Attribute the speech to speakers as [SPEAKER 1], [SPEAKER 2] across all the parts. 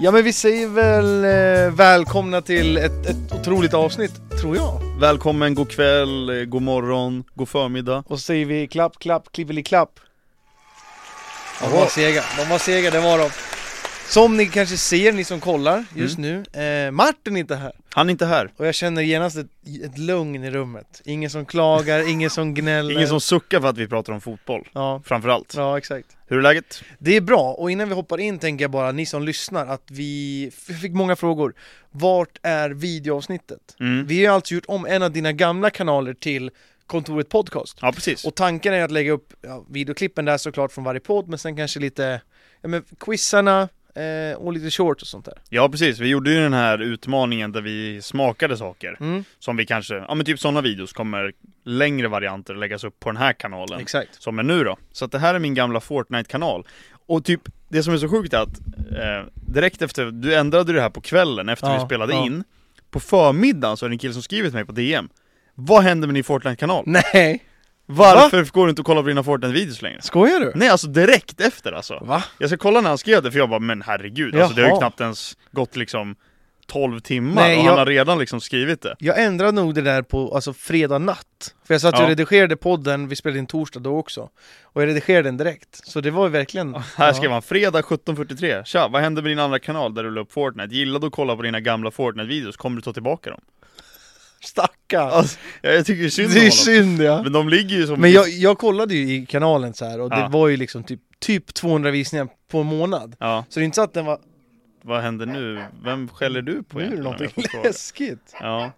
[SPEAKER 1] Ja men vi säger väl eh, välkomna till ett, ett otroligt avsnitt, tror jag.
[SPEAKER 2] Välkommen, god kväll, eh, god morgon, god förmiddag.
[SPEAKER 1] Och så säger vi klapp, klapp, klippeliklapp. De var sega, de var sega, det var de. Som ni kanske ser, ni som kollar just nu, eh, Martin är inte här.
[SPEAKER 2] Han är inte här.
[SPEAKER 1] Och jag känner genast ett, ett lugn i rummet. Ingen som klagar, ingen som gnäller.
[SPEAKER 2] Ingen som suckar för att vi pratar om fotboll,
[SPEAKER 1] Ja,
[SPEAKER 2] framförallt.
[SPEAKER 1] ja exakt.
[SPEAKER 2] Hur är läget?
[SPEAKER 1] Det är bra, och innan vi hoppar in tänker jag bara, ni som lyssnar, att vi vi fick många frågor. Vart är videoavsnittet?
[SPEAKER 2] Mm.
[SPEAKER 1] Vi har alltså gjort om en av dina gamla kanaler till Kontoret Podcast.
[SPEAKER 2] Ja, precis.
[SPEAKER 1] Och tanken är att lägga upp ja, videoklippen där såklart från varje podd, men sen kanske lite ja, men quizarna eh, och lite shorts och sånt där.
[SPEAKER 2] Ja, precis. Vi gjorde ju den här utmaningen där vi smakade saker.
[SPEAKER 1] Mm,
[SPEAKER 2] Som vi kanske, ja men typ sådana videos kommer längre varianter läggas upp på den här kanalen.
[SPEAKER 1] exakt.
[SPEAKER 2] Som är nu då. Så att det här är min gamla Fortnite-kanal. Och typ, det som är så sjukt är att eh, direkt efter, du ändrade det här på kvällen efter
[SPEAKER 1] Ja,
[SPEAKER 2] vi spelade
[SPEAKER 1] ja.
[SPEAKER 2] in. På förmiddagen så är det en kille som skrivit till mig på DM. Vad händer med din Fortnite-kanal?
[SPEAKER 1] Nej,
[SPEAKER 2] Varför går du inte och kollar på dina Fortnite-videos längre?
[SPEAKER 1] skojar du?
[SPEAKER 2] Nej alltså direkt efter alltså
[SPEAKER 1] Va?
[SPEAKER 2] Jag ska kolla när han skrev det för jag bara men herregud alltså, det har ju
[SPEAKER 1] Jaha.
[SPEAKER 2] knappt ens gått liksom 12 timmar
[SPEAKER 1] Nej,
[SPEAKER 2] och
[SPEAKER 1] jag-
[SPEAKER 2] han har redan liksom skrivit det
[SPEAKER 1] Jag ändrade nog det där på alltså, fredag natt. För jag satt och
[SPEAKER 2] Ja.
[SPEAKER 1] redigerade podden, vi spelade in torsdag då också. Och jag redigerade den direkt. Så det var ju verkligen...
[SPEAKER 2] Här skrev han fredag 17.43 Tja, vad händer med din andra kanal där du la upp Fortnite? Gillade och kolla på dina gamla Fortnite-videos, kommer du ta tillbaka dem?
[SPEAKER 1] Stackarn!
[SPEAKER 2] Alltså, jag, jag tycker synd om
[SPEAKER 1] det är
[SPEAKER 2] honom
[SPEAKER 1] synd ja.
[SPEAKER 2] Men de ligger ju som
[SPEAKER 1] Men jag, jag kollade ju i kanalen så här och det
[SPEAKER 2] Ja.
[SPEAKER 1] var ju liksom typ, typ 200 visningar på en månad.
[SPEAKER 2] Ja,
[SPEAKER 1] Så det är inte så att den var...
[SPEAKER 2] vad händer nu? Vem skäller du på
[SPEAKER 1] Nu är det
[SPEAKER 2] egentligen, om jag
[SPEAKER 1] någonting
[SPEAKER 2] får fråga?
[SPEAKER 1] läskigt.
[SPEAKER 2] Ja,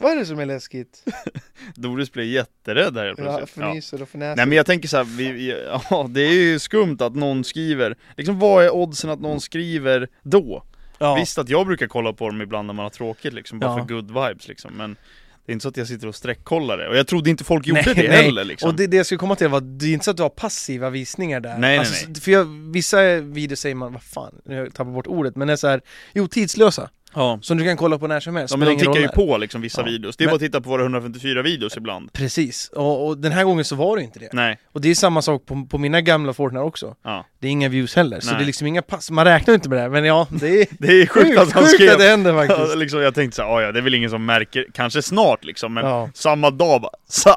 [SPEAKER 1] Vad är det som är läskigt?
[SPEAKER 2] Doris blir jätterädd här helt
[SPEAKER 1] Ja,
[SPEAKER 2] plötsligt Ja.
[SPEAKER 1] förnyser och förnäser.
[SPEAKER 2] Nej men jag tänker så här, vi, vi, ja, det är ju skumt att någon skriver, liksom vad är oddsen att någon skriver då?
[SPEAKER 1] ja.
[SPEAKER 2] Visst att jag brukar kolla på dem ibland när man har tråkigt liksom, bara
[SPEAKER 1] Ja.
[SPEAKER 2] för good vibes liksom, men det är inte så att jag sitter och streckkollar det, och jag trodde inte folk gjorde
[SPEAKER 1] Nej,
[SPEAKER 2] det
[SPEAKER 1] nej.
[SPEAKER 2] heller liksom
[SPEAKER 1] Och det, det jag skulle komma till var att det är inte så att du har passiva visningar där.
[SPEAKER 2] Nej, nej,
[SPEAKER 1] nej. För jag, vissa videos säger man, vad fan, nu har jag tappat bort ordet, men det är så här, jo tidslösa.
[SPEAKER 2] Ja,
[SPEAKER 1] Som du kan kolla på när som helst.
[SPEAKER 2] ja men
[SPEAKER 1] spelar
[SPEAKER 2] de
[SPEAKER 1] ingen roll
[SPEAKER 2] tickar ju
[SPEAKER 1] när.
[SPEAKER 2] på liksom vissa
[SPEAKER 1] Ja.
[SPEAKER 2] videos, det är
[SPEAKER 1] Men-
[SPEAKER 2] bara att titta på våra 154 videos ibland
[SPEAKER 1] Precis, och, och den här gången så var det inte det.
[SPEAKER 2] Nej,
[SPEAKER 1] Och det är samma sak på, på mina gamla Fortnite också.
[SPEAKER 2] ja
[SPEAKER 1] Det är inga views heller, så
[SPEAKER 2] Nej.
[SPEAKER 1] det är liksom inga pass. Man räknar ju inte med det, här, men ja, det är
[SPEAKER 2] Det är sjukt
[SPEAKER 1] sjukt,
[SPEAKER 2] att han
[SPEAKER 1] sjukt
[SPEAKER 2] skrev
[SPEAKER 1] att det händer
[SPEAKER 2] Ja,
[SPEAKER 1] faktiskt.
[SPEAKER 2] liksom, jag tänkte såhär, "Ah, ja det är väl ingen som märker, kanske snart liksom, men
[SPEAKER 1] Ja.
[SPEAKER 2] samma dag bara, sa,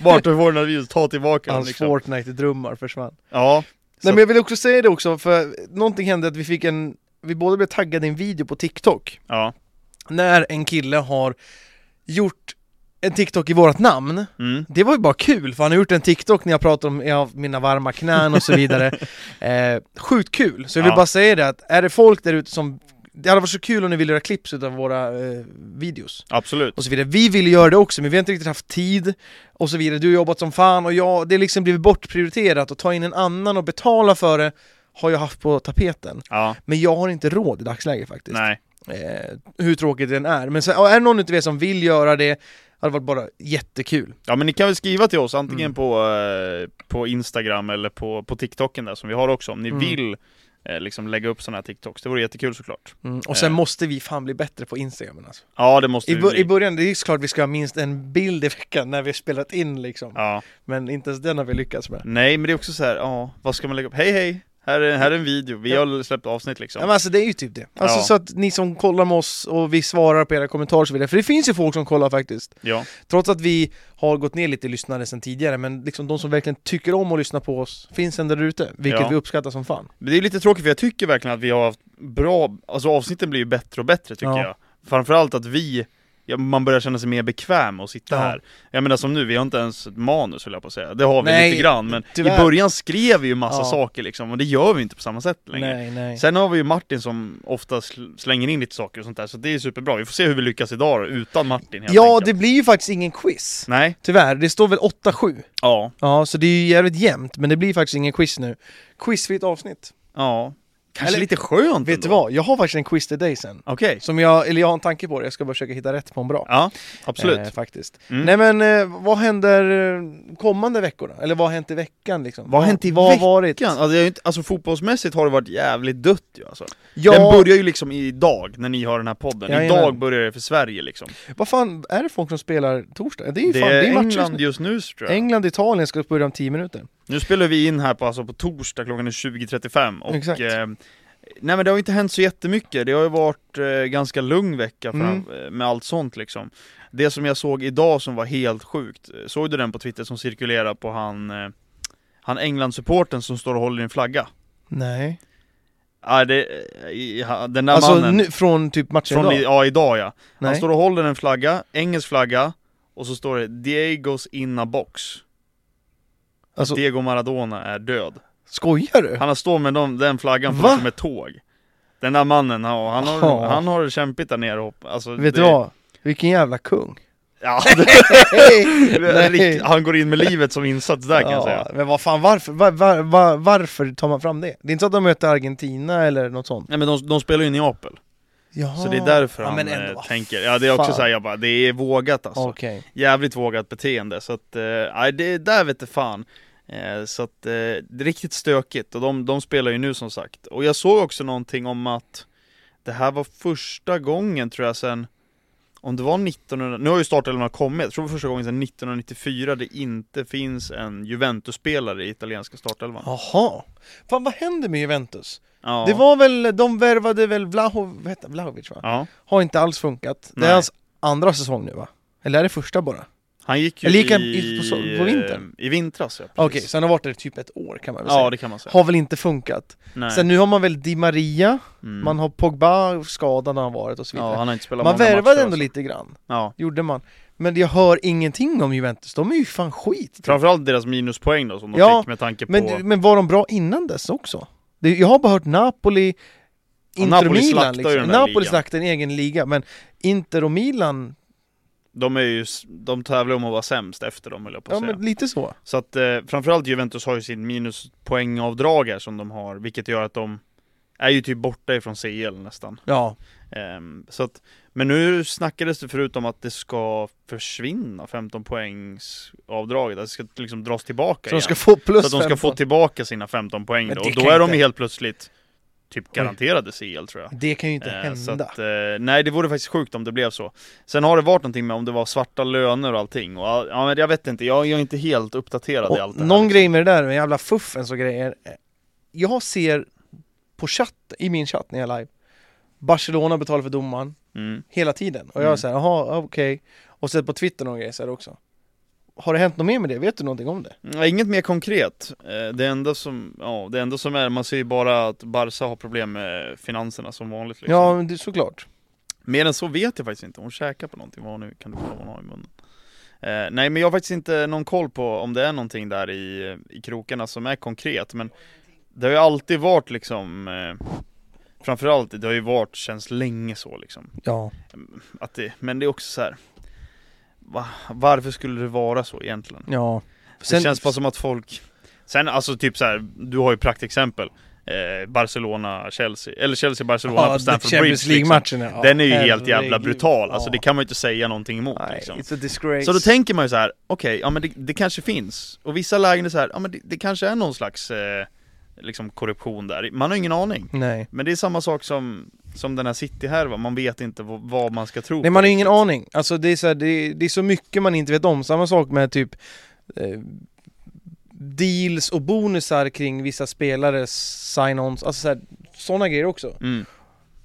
[SPEAKER 2] vart har vi vår videos, ta tillbaka dem
[SPEAKER 1] Hans
[SPEAKER 2] liksom.
[SPEAKER 1] Fortnite-drömmar försvann.
[SPEAKER 2] Ja, Så-
[SPEAKER 1] Nej men jag vill också säga det också, för någonting hände att vi fick en, vi båda blev taggade i en video på TikTok.
[SPEAKER 2] ja,
[SPEAKER 1] När en kille har gjort en TikTok i vårt namn.
[SPEAKER 2] mm.
[SPEAKER 1] Det var ju bara kul, för han har gjort en TikTok när jag pratar om ja, mina varma knän och så vidare. eh, sjukt kul! Så jag vill
[SPEAKER 2] Ja.
[SPEAKER 1] bara säga det att, är det folk där ute som det hade varit så kul om ni ville göra klipps utav våra eh, videos
[SPEAKER 2] Absolut.
[SPEAKER 1] och så vidare. Vi ville göra det också, men vi har inte riktigt haft tid och så vidare. Du har jobbat som fan och jag, det har liksom blivit bortprioriterat och ta in en annan och betala för det har jag haft på tapeten.
[SPEAKER 2] Ja,
[SPEAKER 1] Men jag har inte råd i dagsläget faktiskt.
[SPEAKER 2] nej.
[SPEAKER 1] Eh, hur tråkigt den är. Men så, ja, är det någon utav er som vill göra det, hade varit bara jättekul.
[SPEAKER 2] Ja men ni kan väl skriva till oss antingen
[SPEAKER 1] Mm.
[SPEAKER 2] på, eh, på Instagram eller på, på TikToken där som vi har också om ni
[SPEAKER 1] Mm.
[SPEAKER 2] vill eh, liksom lägga upp sådana här TikToks. Det vore jättekul såklart.
[SPEAKER 1] Mm. Och sen
[SPEAKER 2] Eh.
[SPEAKER 1] måste vi fan bli bättre på Instagram. Alltså.
[SPEAKER 2] Ja det måste
[SPEAKER 1] I,
[SPEAKER 2] vi
[SPEAKER 1] bör-
[SPEAKER 2] bli.
[SPEAKER 1] I början, det är klart vi ska ha minst en bild i veckan när vi har spelat in liksom.
[SPEAKER 2] Ja.
[SPEAKER 1] Men inte ens den har vi lyckats med.
[SPEAKER 2] Nej men det är också så här, ja vad ska man lägga upp? Hej hej! Här är, här är en video, vi har släppt avsnitt liksom.
[SPEAKER 1] Ja, men alltså det är ju typ det. Alltså
[SPEAKER 2] Ja.
[SPEAKER 1] så att ni som kollar med oss och vi svarar på era kommentarer och så vidare, för det finns ju folk som kollar faktiskt.
[SPEAKER 2] Ja.
[SPEAKER 1] Trots att vi har gått ner lite i lyssnare sen tidigare, men liksom de som verkligen tycker om att lyssna på oss finns ändå där ute, vilket
[SPEAKER 2] Ja.
[SPEAKER 1] vi uppskattar som fan.
[SPEAKER 2] Men det är lite tråkigt för jag tycker verkligen att vi har haft bra, alltså avsnitten blir ju bättre och bättre tycker
[SPEAKER 1] Ja.
[SPEAKER 2] jag. Framförallt att vi, ja, man börjar känna sig mer bekväm med att sitta
[SPEAKER 1] Ja.
[SPEAKER 2] här. Jag menar som nu, vi har inte ens ett manus höll jag på att säga. Det har vi
[SPEAKER 1] Nej,
[SPEAKER 2] lite grann, men
[SPEAKER 1] tyvärr.
[SPEAKER 2] i början skrev vi ju massa
[SPEAKER 1] Ja.
[SPEAKER 2] saker liksom, och det gör vi inte på samma sätt längre.
[SPEAKER 1] Nej, nej.
[SPEAKER 2] Sen har vi ju Martin som ofta sl- slänger in lite saker och sånt där, så det är superbra. Vi får se hur vi lyckas idag då, utan Martin helt
[SPEAKER 1] Ja,
[SPEAKER 2] enkelt.
[SPEAKER 1] det blir ju faktiskt ingen quiz.
[SPEAKER 2] Nej,
[SPEAKER 1] Tyvärr, det står väl 8-7.
[SPEAKER 2] ja,
[SPEAKER 1] Ja, så det är ju jävligt jämnt, men det blir faktiskt ingen quiz nu. Quizfritt avsnitt.
[SPEAKER 2] ja. Kanske
[SPEAKER 1] Eller-
[SPEAKER 2] lite skönt
[SPEAKER 1] Vet
[SPEAKER 2] ändå.
[SPEAKER 1] du vad? Jag har faktiskt en quiz till dig sen.
[SPEAKER 2] Okej,
[SPEAKER 1] Som jag, eller jag har en tanke på det, jag ska bara försöka hitta rätt på en bra.
[SPEAKER 2] ja, absolut.
[SPEAKER 1] Eh, faktiskt.
[SPEAKER 2] Mm.
[SPEAKER 1] Nej men eh, vad händer eh, kommande veckorna? Eller vad har hänt i veckan liksom?
[SPEAKER 2] Vad har hänt i
[SPEAKER 1] vad Har varit?
[SPEAKER 2] veckan? Alltså, det är ju inte, alltså fotbollsmässigt har det varit jävligt dött ju alltså.
[SPEAKER 1] Ja,
[SPEAKER 2] Den börjar ju liksom idag, när ni har den här podden.
[SPEAKER 1] Jajamän.
[SPEAKER 2] idag börjar det för Sverige liksom.
[SPEAKER 1] vad fan, är det folk som spelar torsdag? Det är ju
[SPEAKER 2] Det
[SPEAKER 1] fan,
[SPEAKER 2] är
[SPEAKER 1] det är matcher just
[SPEAKER 2] England
[SPEAKER 1] nu.
[SPEAKER 2] just nu tror jag.
[SPEAKER 1] England, Italien ska börja om 10 minuter.
[SPEAKER 2] Nu spelar vi in här på, alltså, på torsdag klockan är 20.35 och
[SPEAKER 1] Exakt.
[SPEAKER 2] eh, Nej men det har ju inte hänt så jättemycket, det har ju varit eh, ganska lugn vecka fram,
[SPEAKER 1] Mm.
[SPEAKER 2] eh, med allt sånt liksom Det som jag såg idag som var helt sjukt, eh, såg du den på Twitter som cirkulerar på han, eh, han England-supporten som står och håller i en flagga?
[SPEAKER 1] Nej.
[SPEAKER 2] Ja, det, eh, i- ha- den där
[SPEAKER 1] Alltså
[SPEAKER 2] mannen,
[SPEAKER 1] nu, från typ matchen
[SPEAKER 2] från,
[SPEAKER 1] idag?
[SPEAKER 2] i- ja idag ja, han
[SPEAKER 1] Nej.
[SPEAKER 2] står och håller en flagga, engelsk flagga, och så står det 'Diegos inna box'
[SPEAKER 1] Alltså,
[SPEAKER 2] Diego Maradona är död
[SPEAKER 1] skojar du?
[SPEAKER 2] Han har stått med dem, den flaggan
[SPEAKER 1] Va?
[SPEAKER 2] på som ett tåg Den där mannen, ja, han, har,
[SPEAKER 1] Ja.
[SPEAKER 2] han har det kämpigt där nere och, alltså,
[SPEAKER 1] Vet
[SPEAKER 2] det,
[SPEAKER 1] du vad? Vilken jävla kung.
[SPEAKER 2] Ja, det,
[SPEAKER 1] Nej.
[SPEAKER 2] rikt- han går in med livet som insats där kan jag säga
[SPEAKER 1] Men vad fan varför, var, var, var, varför tar man fram det? Det är inte så att de möter Argentina eller något sånt?
[SPEAKER 2] Nej men de, de spelar ju i Neapel,
[SPEAKER 1] Jaha.
[SPEAKER 2] så det är därför
[SPEAKER 1] Ja,
[SPEAKER 2] han
[SPEAKER 1] men
[SPEAKER 2] eh,
[SPEAKER 1] ändå, vad
[SPEAKER 2] tänker Ja det är också
[SPEAKER 1] fan.
[SPEAKER 2] såhär, jag bara, det är vågat alltså
[SPEAKER 1] Okej.
[SPEAKER 2] Jävligt vågat beteende, så att, eh, nej det där vet du fan Eh, Så att, eh, det är riktigt stökigt och de, de spelar ju nu som sagt Och jag såg också någonting om att Det här var första gången tror jag sen Om det var 1900, nu har ju startelvan kommit, jag tror det var första gången sedan 1994 det inte finns en Juventus-spelare i italienska startelvan
[SPEAKER 1] Jaha. Fan vad händer med Juventus?
[SPEAKER 2] Ja.
[SPEAKER 1] Det var väl, de värvade väl Vlaho, vad heter han? Vlahovic va?
[SPEAKER 2] Ja,
[SPEAKER 1] Har inte alls funkat. Det
[SPEAKER 2] Nej.
[SPEAKER 1] är hans andra säsång nu va? Eller är det första bara?
[SPEAKER 2] han gick ju
[SPEAKER 1] Eller gick han
[SPEAKER 2] i,
[SPEAKER 1] i- på so- på vintern?
[SPEAKER 2] I vintras ja,
[SPEAKER 1] Okej,
[SPEAKER 2] precis.
[SPEAKER 1] så han har varit där i typ ett år kan man väl
[SPEAKER 2] Ja
[SPEAKER 1] säga.
[SPEAKER 2] det kan man säga
[SPEAKER 1] Har väl inte funkat.
[SPEAKER 2] Nej.
[SPEAKER 1] Sen nu har man väl Di Maria,
[SPEAKER 2] Mm.
[SPEAKER 1] man har Pogba, skadan har han varit och så vidare.
[SPEAKER 2] Ja, han har inte spelat
[SPEAKER 1] man
[SPEAKER 2] många
[SPEAKER 1] värvade
[SPEAKER 2] matcher,
[SPEAKER 1] ändå
[SPEAKER 2] alltså.
[SPEAKER 1] lite grann,
[SPEAKER 2] Ja,
[SPEAKER 1] gjorde man. Men jag hör ingenting om Juventus, de är ju fan skit.
[SPEAKER 2] framförallt deras minuspoäng då som de
[SPEAKER 1] Typ. Ja,
[SPEAKER 2] fick med tanke på
[SPEAKER 1] Men, men var de bra innan dess också? Det, jag har bara hört Napoli,
[SPEAKER 2] Ja,
[SPEAKER 1] Inter
[SPEAKER 2] Napoli
[SPEAKER 1] och
[SPEAKER 2] slaktar
[SPEAKER 1] Milan
[SPEAKER 2] ju
[SPEAKER 1] liksom.
[SPEAKER 2] den där
[SPEAKER 1] Napoli
[SPEAKER 2] ligan.
[SPEAKER 1] slaktade en egen liga, men Inter och Milan,
[SPEAKER 2] De är ju, s- de tävlar om att vara sämst efter dem höll jag på att
[SPEAKER 1] ja
[SPEAKER 2] säga.
[SPEAKER 1] men lite så.
[SPEAKER 2] Så att eh, framförallt Juventus har ju sin minuspoängavdrag här som de har, vilket gör att de är ju typ borta ifrån CL nästan.
[SPEAKER 1] Ja.
[SPEAKER 2] Ehm, så att, men nu snackades det förut om att det ska försvinna 15 poängsavdraget, att det ska liksom dras tillbaka
[SPEAKER 1] Så de ska
[SPEAKER 2] igen.
[SPEAKER 1] få plus
[SPEAKER 2] Så att de ska
[SPEAKER 1] 15.
[SPEAKER 2] få tillbaka sina 15 poäng
[SPEAKER 1] Men
[SPEAKER 2] då,
[SPEAKER 1] det
[SPEAKER 2] och då
[SPEAKER 1] kan
[SPEAKER 2] är de
[SPEAKER 1] inte-
[SPEAKER 2] ju helt plötsligt typ garanterade CL tror jag.
[SPEAKER 1] Det kan ju inte
[SPEAKER 2] Eh,
[SPEAKER 1] hända.
[SPEAKER 2] Så att, eh, nej, det vore faktiskt sjukt om det blev så. Sen har det varit någonting med om det var svarta löner och allting. Och, all- ja, men jag vet inte, jag, jag är inte helt uppdaterad i
[SPEAKER 1] Och
[SPEAKER 2] allt det här.
[SPEAKER 1] någon
[SPEAKER 2] liksom.
[SPEAKER 1] grej med det där med jävla fuffens och grejer. eh, Jag ser på chatt, i min chatt när jag är live, Barcelona betalar för domaren
[SPEAKER 2] Mm.
[SPEAKER 1] hela tiden. Och jag
[SPEAKER 2] Mm.
[SPEAKER 1] är såhär, jaha, okej. Och sen på Twitter någon grej så här också. Har det hänt något mer med det? Vet du någonting om det?
[SPEAKER 2] Mm, Inget mer konkret. Eh, Det enda, som, ja, det enda som är, man ser ju bara att Barca har problem med finanserna som vanligt. Liksom.
[SPEAKER 1] Ja, men det, såklart.
[SPEAKER 2] Mer än så vet jag faktiskt inte. Hon käkar på någonting. Vad nu kan det vara hon har i munnen? Eh, nej, men jag har faktiskt inte någon koll på om det är någonting där i, i krokarna som är konkret. Men det har ju alltid varit liksom eh, Framförallt, det har ju varit, känns länge så liksom.
[SPEAKER 1] Ja.
[SPEAKER 2] Att det, men det är också så här. Va, varför skulle det vara så egentligen?
[SPEAKER 1] ja.
[SPEAKER 2] det känns bara som att folk Sen alltså typ så här, du har ju praktexempel eh, Barcelona-Chelsea, eller Chelsea-Barcelona på Stamford Bridge
[SPEAKER 1] Champions
[SPEAKER 2] liksom.
[SPEAKER 1] League-matchen ja.
[SPEAKER 2] Den är ju helt
[SPEAKER 1] Herregud.
[SPEAKER 2] jävla brutal, alltså
[SPEAKER 1] Ja.
[SPEAKER 2] det kan man ju inte säga någonting emot
[SPEAKER 1] Nej,
[SPEAKER 2] liksom.
[SPEAKER 1] it's a disgrace.
[SPEAKER 2] Så då tänker man ju så här: okej, ja men det, det kanske finns. Och vissa lägen är så här, ja men det, det kanske är någon slags eh, liksom korruption där. Man har ingen aning.
[SPEAKER 1] Nej.
[SPEAKER 2] Men det är samma sak som, som den här city här man vet inte vad, vad man ska tro
[SPEAKER 1] Nej
[SPEAKER 2] på
[SPEAKER 1] man har ingen
[SPEAKER 2] riktigt.
[SPEAKER 1] aning, alltså det är, så här, det, det är så mycket man inte vet om, samma sak med typ eh, deals och bonusar kring vissa spelares sign-ons, alltså så här, sådana grejer också.
[SPEAKER 2] Mm.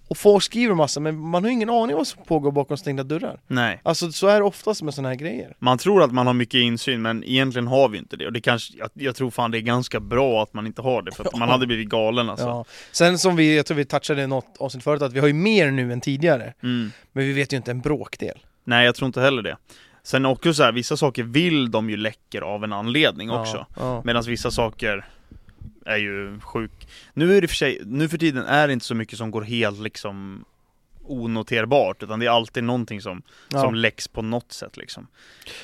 [SPEAKER 1] Och folk skriver massa men man har ingen aning vad som pågår bakom stängda dörrar.
[SPEAKER 2] Nej.
[SPEAKER 1] Alltså så är det oftast med sådana här grejer.
[SPEAKER 2] Man tror att man har mycket insyn men egentligen har vi inte det. Och det kanske, jag, jag tror fan det är ganska bra att man inte har det för att man hade blivit galen alltså.
[SPEAKER 1] Ja. Sen som vi, jag tror vi touchade i något avsnitt förut, att vi har ju mer nu än tidigare,
[SPEAKER 2] Mm.
[SPEAKER 1] men vi vet ju inte en bråkdel.
[SPEAKER 2] Nej, jag tror inte heller det. Sen också så här, vissa saker vill de ju läcker av en anledning också.
[SPEAKER 1] Ja.
[SPEAKER 2] Medan vissa saker är ju sjuk. Nu är det för sig, nu för tiden är det inte så mycket som går helt liksom onoterbart, utan det är alltid någonting som,
[SPEAKER 1] Ja.
[SPEAKER 2] som läcks på något sätt liksom.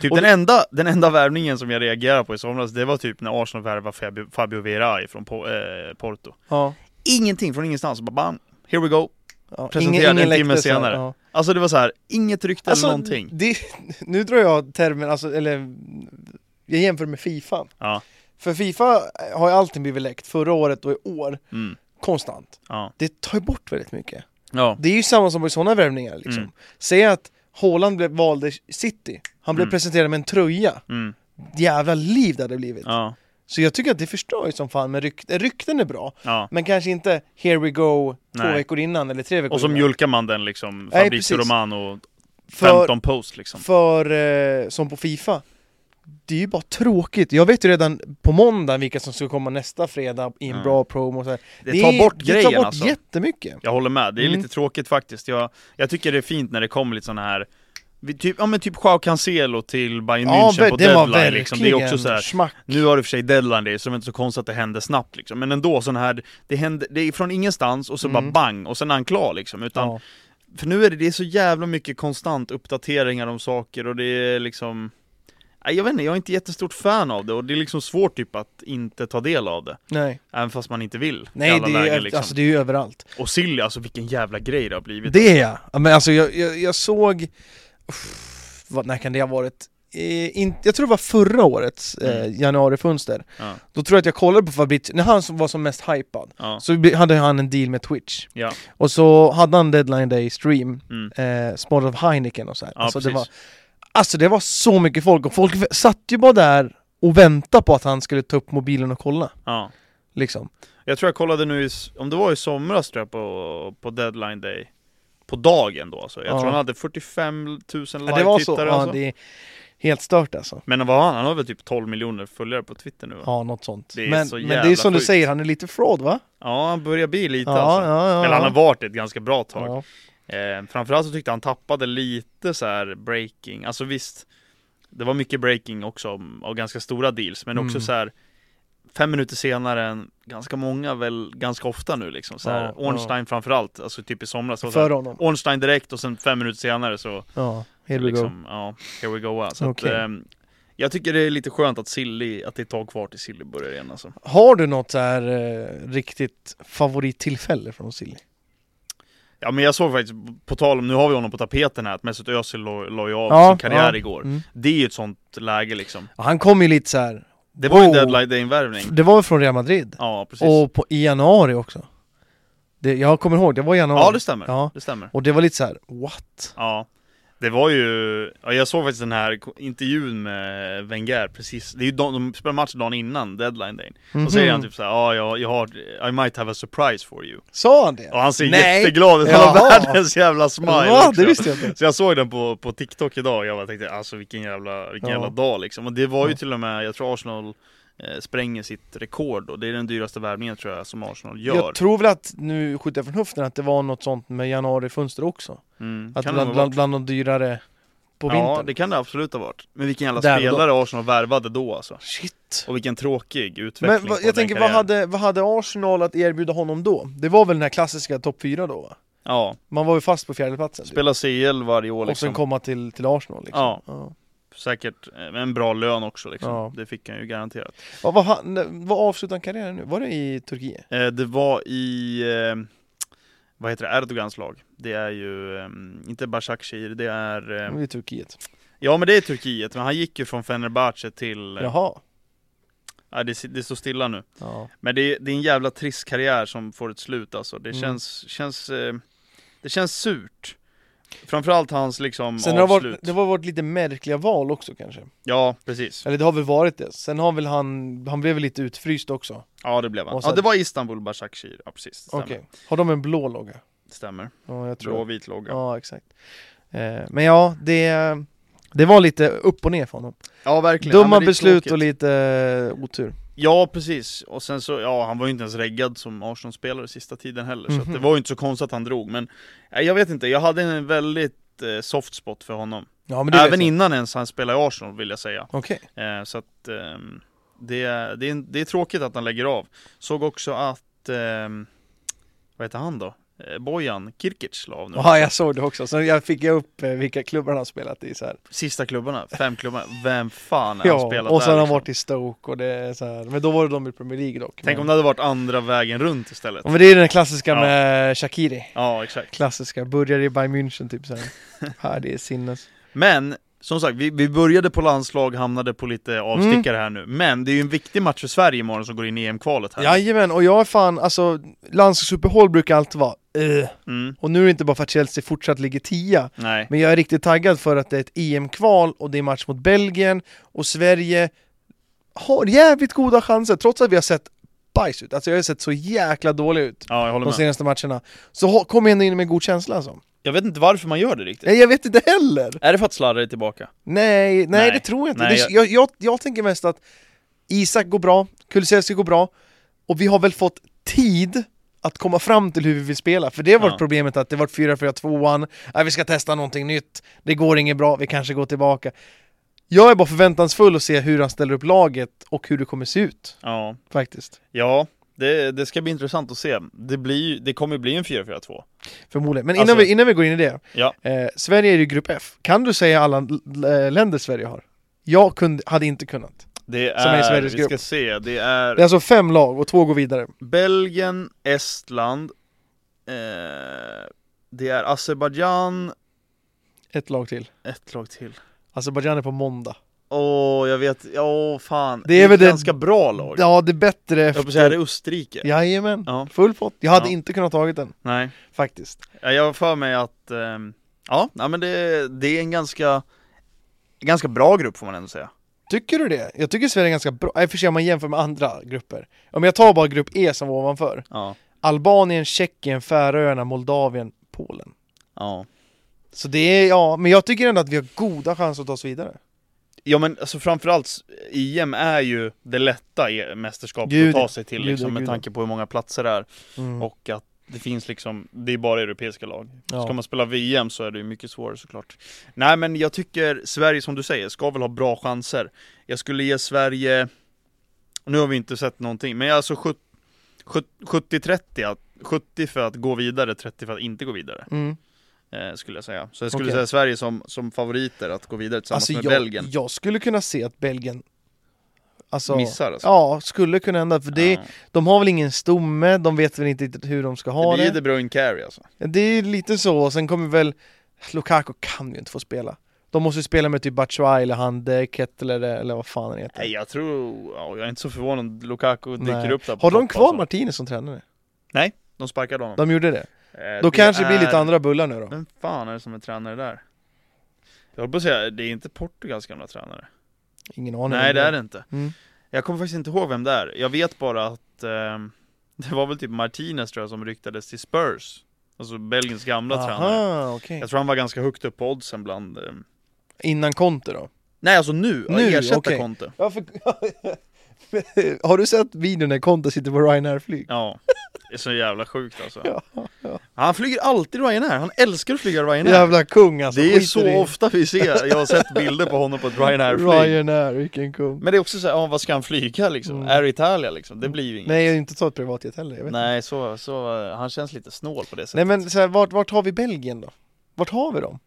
[SPEAKER 2] Typ
[SPEAKER 1] Och
[SPEAKER 2] den, enda, den enda värvningen som jag reagerade på i somras, det var typ när Arsenal värvade Fabio, Fabio Vera från po, eh, Porto.
[SPEAKER 1] Ja.
[SPEAKER 2] Ingenting från ingenstans, bara bam, here we go.
[SPEAKER 1] Ja.
[SPEAKER 2] Presenterade en timme
[SPEAKER 1] läckte så här,
[SPEAKER 2] senare.
[SPEAKER 1] ja.
[SPEAKER 2] Alltså det var så här, inget rykte
[SPEAKER 1] Alltså,
[SPEAKER 2] eller någonting.
[SPEAKER 1] Det, nu drar jag termen, alltså, eller jag jämför med Fifa.
[SPEAKER 2] Ja,
[SPEAKER 1] För Fifa har ju alltid blivit läckt, förra året och i år,
[SPEAKER 2] mm,
[SPEAKER 1] konstant.
[SPEAKER 2] ja.
[SPEAKER 1] Det tar ju bort väldigt mycket.
[SPEAKER 2] Ja,
[SPEAKER 1] Det är ju samma som på sådana värvningar liksom.
[SPEAKER 2] Mm.
[SPEAKER 1] Säg att Haaland blev, valde City, han blev
[SPEAKER 2] Mm.
[SPEAKER 1] presenterad med en tröja.
[SPEAKER 2] mm,
[SPEAKER 1] Jävla liv det hade blivit.
[SPEAKER 2] ja.
[SPEAKER 1] Så jag tycker att det förstör ju som fan, men rykt, rykten är bra.
[SPEAKER 2] Ja.
[SPEAKER 1] Men kanske inte here we go två
[SPEAKER 2] Nej.
[SPEAKER 1] veckor innan eller tre veckor
[SPEAKER 2] Och så
[SPEAKER 1] innan.
[SPEAKER 2] mjölkar man den liksom,
[SPEAKER 1] Nej,
[SPEAKER 2] Fabrizio
[SPEAKER 1] precis.
[SPEAKER 2] Romano,
[SPEAKER 1] För,
[SPEAKER 2] 15 post liksom.
[SPEAKER 1] för eh, som på Fifa, det är ju bara tråkigt. Jag vet ju redan på måndag vilka som ska komma nästa fredag i en
[SPEAKER 2] Mm.
[SPEAKER 1] bra promo och så här.
[SPEAKER 2] Det tar
[SPEAKER 1] är-
[SPEAKER 2] bort
[SPEAKER 1] Det
[SPEAKER 2] grejen
[SPEAKER 1] tar bort
[SPEAKER 2] alltså.
[SPEAKER 1] jättemycket.
[SPEAKER 2] Jag håller med, det är
[SPEAKER 1] Mm.
[SPEAKER 2] lite tråkigt faktiskt. Jag, jag tycker det är fint när det kommer lite sådana här vi- Typ, ja men typ Joao Cancelo till Bayern München på deadline liksom. Det är också så här,
[SPEAKER 1] smack.
[SPEAKER 2] Nu har det för sig deadline det, är, så det är inte så konstigt att det händer snabbt liksom. Men ändå sån här, det händer, det är från ingenstans och så
[SPEAKER 1] Mm.
[SPEAKER 2] bara bang och sen är han klar liksom. Utan,
[SPEAKER 1] Ja.
[SPEAKER 2] För nu är det, det är så jävla mycket konstant uppdateringar om saker och det är liksom Nej, Jag vet inte, jag är inte jättestort fan av det och det är liksom svårt typ att inte ta del av det
[SPEAKER 1] Nej,
[SPEAKER 2] Även fast man inte vill i
[SPEAKER 1] Nej
[SPEAKER 2] alla
[SPEAKER 1] det, är,
[SPEAKER 2] lägen
[SPEAKER 1] ju-
[SPEAKER 2] liksom.
[SPEAKER 1] alltså, det är ju överallt.
[SPEAKER 2] Och Silly, alltså vilken jävla grej det har blivit
[SPEAKER 1] Det är jag. Ja, Men alltså jag, jag, jag såg, uff, vad, när kan det ha varit? Eh, in, jag tror det var förra årets eh,
[SPEAKER 2] Mm.
[SPEAKER 1] januarifönster.
[SPEAKER 2] ja,
[SPEAKER 1] Då tror jag att jag kollade på Fabrizio, när han som var som mest hypad
[SPEAKER 2] ja,
[SPEAKER 1] så bli- hade han en deal med Twitch.
[SPEAKER 2] ja,
[SPEAKER 1] Och så hade han deadline day stream,
[SPEAKER 2] mm.
[SPEAKER 1] eh, sponsrad av Heineken och så här.
[SPEAKER 2] ja
[SPEAKER 1] alltså,
[SPEAKER 2] precis
[SPEAKER 1] det var, alltså det var så mycket folk och folk v- satt ju bara där och väntade på att han skulle ta upp mobilen och kolla.
[SPEAKER 2] ja.
[SPEAKER 1] Liksom.
[SPEAKER 2] Jag tror jag kollade nu, i, s- om det var i somras tror jag på, på deadline day På dagen då alltså, jag
[SPEAKER 1] Ja.
[SPEAKER 2] tror han hade 45 000 live-tittare
[SPEAKER 1] Ja, det var så. Ja,
[SPEAKER 2] alltså.
[SPEAKER 1] det är helt stört alltså.
[SPEAKER 2] Men vad har han, han har väl typ 12 miljoner följare på Twitter nu va?
[SPEAKER 1] Ja, något sånt.
[SPEAKER 2] Det är
[SPEAKER 1] men,
[SPEAKER 2] så
[SPEAKER 1] men det är
[SPEAKER 2] jävla
[SPEAKER 1] som du
[SPEAKER 2] sjukt.
[SPEAKER 1] säger, han är lite fraud va?
[SPEAKER 2] Ja, han börjar bli lite
[SPEAKER 1] Ja,
[SPEAKER 2] alltså.
[SPEAKER 1] ja, ja,
[SPEAKER 2] Eller han
[SPEAKER 1] ja.
[SPEAKER 2] har varit ett ganska bra tag.
[SPEAKER 1] Ja.
[SPEAKER 2] Eh, framförallt så tyckte jag han tappade lite så här breaking. Alltså visst, det var mycket breaking också och ganska stora deals. Men också
[SPEAKER 1] Mm.
[SPEAKER 2] så här fem minuter senare än ganska många väl ganska ofta nu liksom. Så här,
[SPEAKER 1] Ja, ja.
[SPEAKER 2] Ornstein framförallt, alltså typ i somras. Så så här,
[SPEAKER 1] För honom.
[SPEAKER 2] Ornstein direkt och sen fem minuter senare så
[SPEAKER 1] Ja, here we go.
[SPEAKER 2] liksom, ja, here we go. Så
[SPEAKER 1] Okej.
[SPEAKER 2] att, ehm, jag tycker det är lite skönt att Silly, att det är ett tag kvar till Silly börjar igen alltså.
[SPEAKER 1] Har du något så här eh, riktigt favorittillfälle från Silly?
[SPEAKER 2] Ja men jag såg faktiskt, på tal om, nu har vi honom på tapeten här, att Mesut Özil la la ju av
[SPEAKER 1] Ja,
[SPEAKER 2] sin karriär
[SPEAKER 1] ja.
[SPEAKER 2] igår
[SPEAKER 1] Mm.
[SPEAKER 2] Det är ju ett sånt läge liksom
[SPEAKER 1] Ja, Han kom ju lite så här.
[SPEAKER 2] Det var ju en
[SPEAKER 1] Wow.
[SPEAKER 2] deadline day-invärvning
[SPEAKER 1] det var ju från Real Madrid.
[SPEAKER 2] Ja precis
[SPEAKER 1] Och på, i januari också. Det, jag kommer ihåg, det var i januari.
[SPEAKER 2] Ja det stämmer,
[SPEAKER 1] Ja.
[SPEAKER 2] det stämmer
[SPEAKER 1] Och det var lite så här: what?
[SPEAKER 2] Ja Det var ju, ja, jag såg faktiskt den här ko- intervjun med Wenger precis Det är ju de, de spelar match dagen innan deadline day Och säger
[SPEAKER 1] Mhm.
[SPEAKER 2] han typ såhär, ja jag, jag har, I might have a surprise for you
[SPEAKER 1] Sa han det?
[SPEAKER 2] Och han ser
[SPEAKER 1] Nej.
[SPEAKER 2] jätteglad ut, han har
[SPEAKER 1] Jaha.
[SPEAKER 2] världens jävla smile
[SPEAKER 1] Ja,
[SPEAKER 2] också.
[SPEAKER 1] det visste jag inte.
[SPEAKER 2] Så jag såg den på, på TikTok idag och jag bara tänkte alltså vilken jävla, vilken
[SPEAKER 1] Ja.
[SPEAKER 2] jävla dag liksom. Och det var ju
[SPEAKER 1] Ja.
[SPEAKER 2] till och med, jag tror Arsenal eh, spränger sitt rekord och det är den dyraste värvningen tror jag som Arsenal gör.
[SPEAKER 1] Jag tror väl att, nu skjuter jag från höften, att det var något sånt med januarifönster också.
[SPEAKER 2] mm.
[SPEAKER 1] Att
[SPEAKER 2] kan det
[SPEAKER 1] bland,
[SPEAKER 2] nog
[SPEAKER 1] bland,
[SPEAKER 2] ha
[SPEAKER 1] bland de dyrare på
[SPEAKER 2] varit. Ja
[SPEAKER 1] vintern.
[SPEAKER 2] det kan det absolut ha varit. Men vilken jävla
[SPEAKER 1] Där och då.
[SPEAKER 2] spelare Arsenal värvade då alltså.
[SPEAKER 1] Shit!
[SPEAKER 2] Och vilken tråkig utveckling
[SPEAKER 1] Men
[SPEAKER 2] på
[SPEAKER 1] vad,
[SPEAKER 2] den
[SPEAKER 1] jag tänker, vad
[SPEAKER 2] karriären.
[SPEAKER 1] hade, vad hade Arsenal att erbjuda honom då? Det var väl den här klassiska topp 4 då va?
[SPEAKER 2] Ja,
[SPEAKER 1] Man var ju fast på fjärdeplatsen. typ.
[SPEAKER 2] spela CL varje år
[SPEAKER 1] Och sen
[SPEAKER 2] liksom.
[SPEAKER 1] komma till, till Arsenal liksom.
[SPEAKER 2] Ja.
[SPEAKER 1] Ja.
[SPEAKER 2] Säkert eh, en bra lön också liksom.
[SPEAKER 1] Ja.
[SPEAKER 2] Det fick han ju garanterat.
[SPEAKER 1] Vad, vad, han- vad avslutade han karriären nu? Var det i Turkiet?
[SPEAKER 2] Eh, det var i, eh, vad heter det, Erdogans lag. Det är ju, eh, inte Başakşehir, det är,
[SPEAKER 1] Det
[SPEAKER 2] eh,
[SPEAKER 1] var I Turkiet.
[SPEAKER 2] ja men det är Turkiet, men han gick ju från Fenerbahçe till, eh,
[SPEAKER 1] Jaha.
[SPEAKER 2] ja, det, det står stilla nu.
[SPEAKER 1] Ja.
[SPEAKER 2] Men det, det är en jävla trist karriär som får ett slut alltså. Det
[SPEAKER 1] Mm.
[SPEAKER 2] känns, känns, eh, det känns surt. Framförallt hans liksom
[SPEAKER 1] Sen har det,
[SPEAKER 2] avslut.
[SPEAKER 1] varit, det har varit lite märkliga val också kanske.
[SPEAKER 2] Ja, precis.
[SPEAKER 1] Eller det har väl varit det. Sen har väl han, han blev väl lite utfryst också.
[SPEAKER 2] Ja det blev han.
[SPEAKER 1] Och sen-
[SPEAKER 2] Ja det var Istanbul Başakşehir, ja precis. Stämmer.
[SPEAKER 1] Okej. Har de en blå logga?
[SPEAKER 2] Stämmer.
[SPEAKER 1] Ja, jag tror
[SPEAKER 2] Blå och vit logga. Ja.
[SPEAKER 1] Ja, exakt. Eh, men ja, det, det var lite upp och ner för honom.
[SPEAKER 2] verkligen. Ja,
[SPEAKER 1] Dumma
[SPEAKER 2] men det är
[SPEAKER 1] beslut
[SPEAKER 2] tråkigt.
[SPEAKER 1] och lite eh, otur.
[SPEAKER 2] Ja precis, och sen så, ja han var ju inte ens reggad som Arsenal-spelare sista tiden heller Så
[SPEAKER 1] Mhm.
[SPEAKER 2] att det var ju inte så konstigt att han drog men eh, Jag vet inte, jag hade en väldigt eh, soft spot för honom
[SPEAKER 1] Ja, men
[SPEAKER 2] Även
[SPEAKER 1] in...
[SPEAKER 2] innan ens han spelade i Arsenal vill jag säga
[SPEAKER 1] Okej.
[SPEAKER 2] eh, Så att ehm, det, det, är, en- det är tråkigt att han lägger av Såg också att ehm, Vad heter han då? Eh, Bojan Kirkic la av nu
[SPEAKER 1] Ja, jag såg det också. Så jag fick jag upp eh, vilka klubbar han har spelat i så här.
[SPEAKER 2] Sista klubbarna, fem klubbarna, vem fan har han
[SPEAKER 1] Ja,
[SPEAKER 2] spelat
[SPEAKER 1] och sen
[SPEAKER 2] där
[SPEAKER 1] har han
[SPEAKER 2] liksom?
[SPEAKER 1] varit i Stoke och det är så här. Men då var det de i Premier League dock.
[SPEAKER 2] Tänk
[SPEAKER 1] men...
[SPEAKER 2] om det hade varit andra vägen runt istället
[SPEAKER 1] Ja, Men det är den klassiska
[SPEAKER 2] Ja.
[SPEAKER 1] med Shakiri.
[SPEAKER 2] Ja exakt
[SPEAKER 1] Klassiska, börjar i Bayern München typ såhär. här, det är sinnes.
[SPEAKER 2] Men som sagt, vi, vi började på landslag, hamnade på lite avstickare
[SPEAKER 1] Mm.
[SPEAKER 2] här nu. Men det är ju en viktig match för Sverige imorgon som går in i EM-kvalet här.
[SPEAKER 1] Jajamän, och jag är fan, alltså landslagsuppehåll brukar alltid vara eh.
[SPEAKER 2] Mm,
[SPEAKER 1] Och nu är det inte bara för att Chelsea fortsatt ligger tia,
[SPEAKER 2] nej.
[SPEAKER 1] men jag är riktigt taggad för att det är ett EM-kval och det är match mot Belgien och Sverige har jävligt goda chanser, trots att vi har sett bajs ut. Alltså jag har sett så jäkla dålig ut
[SPEAKER 2] Ja, jag håller
[SPEAKER 1] de
[SPEAKER 2] med.
[SPEAKER 1] senaste matcherna. Så ha- kom jag ändå in med god känsla alltså.
[SPEAKER 2] Jag vet inte varför man gör det riktigt.
[SPEAKER 1] Nej jag vet inte heller!
[SPEAKER 2] Är det för att slarva det tillbaka?
[SPEAKER 1] Nej, nej,
[SPEAKER 2] Nej.
[SPEAKER 1] det tror jag inte.
[SPEAKER 2] Nej,
[SPEAKER 1] det, jag, jag, jag tänker mest att Isak går bra, Kulusevski går bra och vi har väl fått tid att komma fram till hur vi vill spela. För det har varit
[SPEAKER 2] Ja.
[SPEAKER 1] problemet att det har varit 4-4-2-an, Nej, äh, vi ska testa någonting nytt, det går inget bra, vi kanske går tillbaka. Jag är bara förväntansfull att se hur han ställer upp laget och hur det kommer se ut
[SPEAKER 2] Ja.
[SPEAKER 1] faktiskt.
[SPEAKER 2] Ja, det, det ska bli intressant att se. Det, blir, ju- det kommer bli en 4-4-2.
[SPEAKER 1] Förmodligen. Men innan,
[SPEAKER 2] Alltså-
[SPEAKER 1] vi, innan vi går in i det,
[SPEAKER 2] Ja.
[SPEAKER 1] eh, Sverige är i grupp F. Kan du säga alla l- l- länder Sverige har? Jag kunde, hade inte kunnat.
[SPEAKER 2] Det
[SPEAKER 1] Som är i
[SPEAKER 2] är,
[SPEAKER 1] Sveriges
[SPEAKER 2] vi
[SPEAKER 1] grupp.
[SPEAKER 2] ska se, det
[SPEAKER 1] Det är
[SPEAKER 2] är
[SPEAKER 1] alltså fem lag och två går vidare.
[SPEAKER 2] Belgien, Estland, eh, det är Azerbajdzjan,
[SPEAKER 1] Ett lag till.
[SPEAKER 2] ett lag till.
[SPEAKER 1] Azerbajdzjan är på måndag.
[SPEAKER 2] Åh, jag vet, ja åh, fan.
[SPEAKER 1] Det är väl det-
[SPEAKER 2] ganska bra lag.
[SPEAKER 1] Ja, det är bättre
[SPEAKER 2] Jag höll på
[SPEAKER 1] efter...
[SPEAKER 2] att säga, det är Österrike.
[SPEAKER 1] Jajamän,
[SPEAKER 2] Ja.
[SPEAKER 1] full pott. Jag hade
[SPEAKER 2] Ja.
[SPEAKER 1] inte kunnat tagit den,
[SPEAKER 2] Nej,
[SPEAKER 1] faktiskt.
[SPEAKER 2] Ja, jag har för mig att, ehm, ja, nej, men det, det är en ganska, ganska bra grupp får man ändå säga.
[SPEAKER 1] Tycker du det? Jag tycker Sverige är ganska bra, Äh, i och för sig om man jämför med andra grupper. Om jag tar bara grupp E som var ovanför.
[SPEAKER 2] Ja,
[SPEAKER 1] Albanien, Tjeckien, Färöarna, Moldavien, Polen.
[SPEAKER 2] ja.
[SPEAKER 1] Så det är, ja, men jag tycker ändå att vi har goda chanser att ta oss vidare.
[SPEAKER 2] Ja men alltså framförallt, EM är ju det lätta i mästerskapet
[SPEAKER 1] Gud,
[SPEAKER 2] att ta sig till
[SPEAKER 1] gud,
[SPEAKER 2] liksom, med
[SPEAKER 1] gud.
[SPEAKER 2] tanke på hur många platser det är
[SPEAKER 1] Mm.
[SPEAKER 2] och att det finns liksom, det är bara europeiska lag.
[SPEAKER 1] Ja.
[SPEAKER 2] Ska man spela VM så är det ju mycket svårare såklart. Nej men jag tycker Sverige som du säger, ska väl ha bra chanser. Jag skulle ge Sverige, nu har vi inte sett någonting, men alltså sjut- sjut- 70-30, att- 70 för att gå vidare, 30 för att inte gå vidare.
[SPEAKER 1] Mm.
[SPEAKER 2] Eh, skulle jag säga. Så jag skulle
[SPEAKER 1] Okej.
[SPEAKER 2] säga Sverige som, som favoriter att gå vidare tillsammans
[SPEAKER 1] Alltså
[SPEAKER 2] med
[SPEAKER 1] jag,
[SPEAKER 2] Belgien.
[SPEAKER 1] jag skulle kunna se att Belgien alltså,
[SPEAKER 2] Missar alltså.
[SPEAKER 1] Ja, skulle kunna hända. För det,
[SPEAKER 2] Ja.
[SPEAKER 1] de har väl ingen stomme, de vet väl inte riktigt hur de ska ha
[SPEAKER 2] det blir
[SPEAKER 1] det.
[SPEAKER 2] De Bruyne carry alltså.
[SPEAKER 1] Det är lite så, och sen kommer väl... Lukaku kan ju inte få spela. De måste ju spela med typ Batshuayi eller Hande, Kettler eller vad fan han heter.
[SPEAKER 2] Nej jag tror, ja, jag är inte så förvånad, Lukaku dyker
[SPEAKER 1] Nej.
[SPEAKER 2] upp där på
[SPEAKER 1] Har de
[SPEAKER 2] topp,
[SPEAKER 1] kvar
[SPEAKER 2] alltså.
[SPEAKER 1] Martinez som tränare?
[SPEAKER 2] De sparkade honom
[SPEAKER 1] De gjorde det.
[SPEAKER 2] Eh,
[SPEAKER 1] Då
[SPEAKER 2] det
[SPEAKER 1] kanske det blir
[SPEAKER 2] är-
[SPEAKER 1] lite andra bullar nu då.
[SPEAKER 2] Vem fan är det som är tränare där? Jag höll på att säga, det är inte Portugals gamla tränare
[SPEAKER 1] Ingen aning.
[SPEAKER 2] Nej det är det inte
[SPEAKER 1] Mm.
[SPEAKER 2] Jag kommer faktiskt inte ihåg vem det är, jag vet bara att ehm, Det var väl typ Martinez tror jag som ryktades till Spurs Alltså Belgiens gamla tränare
[SPEAKER 1] Aha, okej.
[SPEAKER 2] Jag tror han var ganska högt upp på oddsen bland ehm,
[SPEAKER 1] Innan Conte då?
[SPEAKER 2] Nej alltså nu,
[SPEAKER 1] Nu,
[SPEAKER 2] ersätta
[SPEAKER 1] okej.
[SPEAKER 2] Conte
[SPEAKER 1] Ja, för... Har du sett videon när Conte sitter på Ryanair-flyg?
[SPEAKER 2] Ja, det är så jävla sjukt alltså
[SPEAKER 1] Ja, ja.
[SPEAKER 2] Han flyger alltid Ryanair, han älskar att flyga Ryanair
[SPEAKER 1] Jävla kung alltså.
[SPEAKER 2] Det är
[SPEAKER 1] skiter i-
[SPEAKER 2] så ofta vi ser, jag har sett bilder på honom på ett Ryanair-flyg
[SPEAKER 1] Ryanair, vilken kung.
[SPEAKER 2] Men det är också såhär, ja vad ska han flyga liksom?
[SPEAKER 1] Mm.
[SPEAKER 2] Air Italia liksom, det blir ju inget
[SPEAKER 1] Nej, jag har inte tagit privatjet heller. Jag vet inte.
[SPEAKER 2] Nej, så, så, eh, han känns lite snål på det sättet
[SPEAKER 1] Nej men så här, vart, vart har vi Belgien då? Vart har vi dem?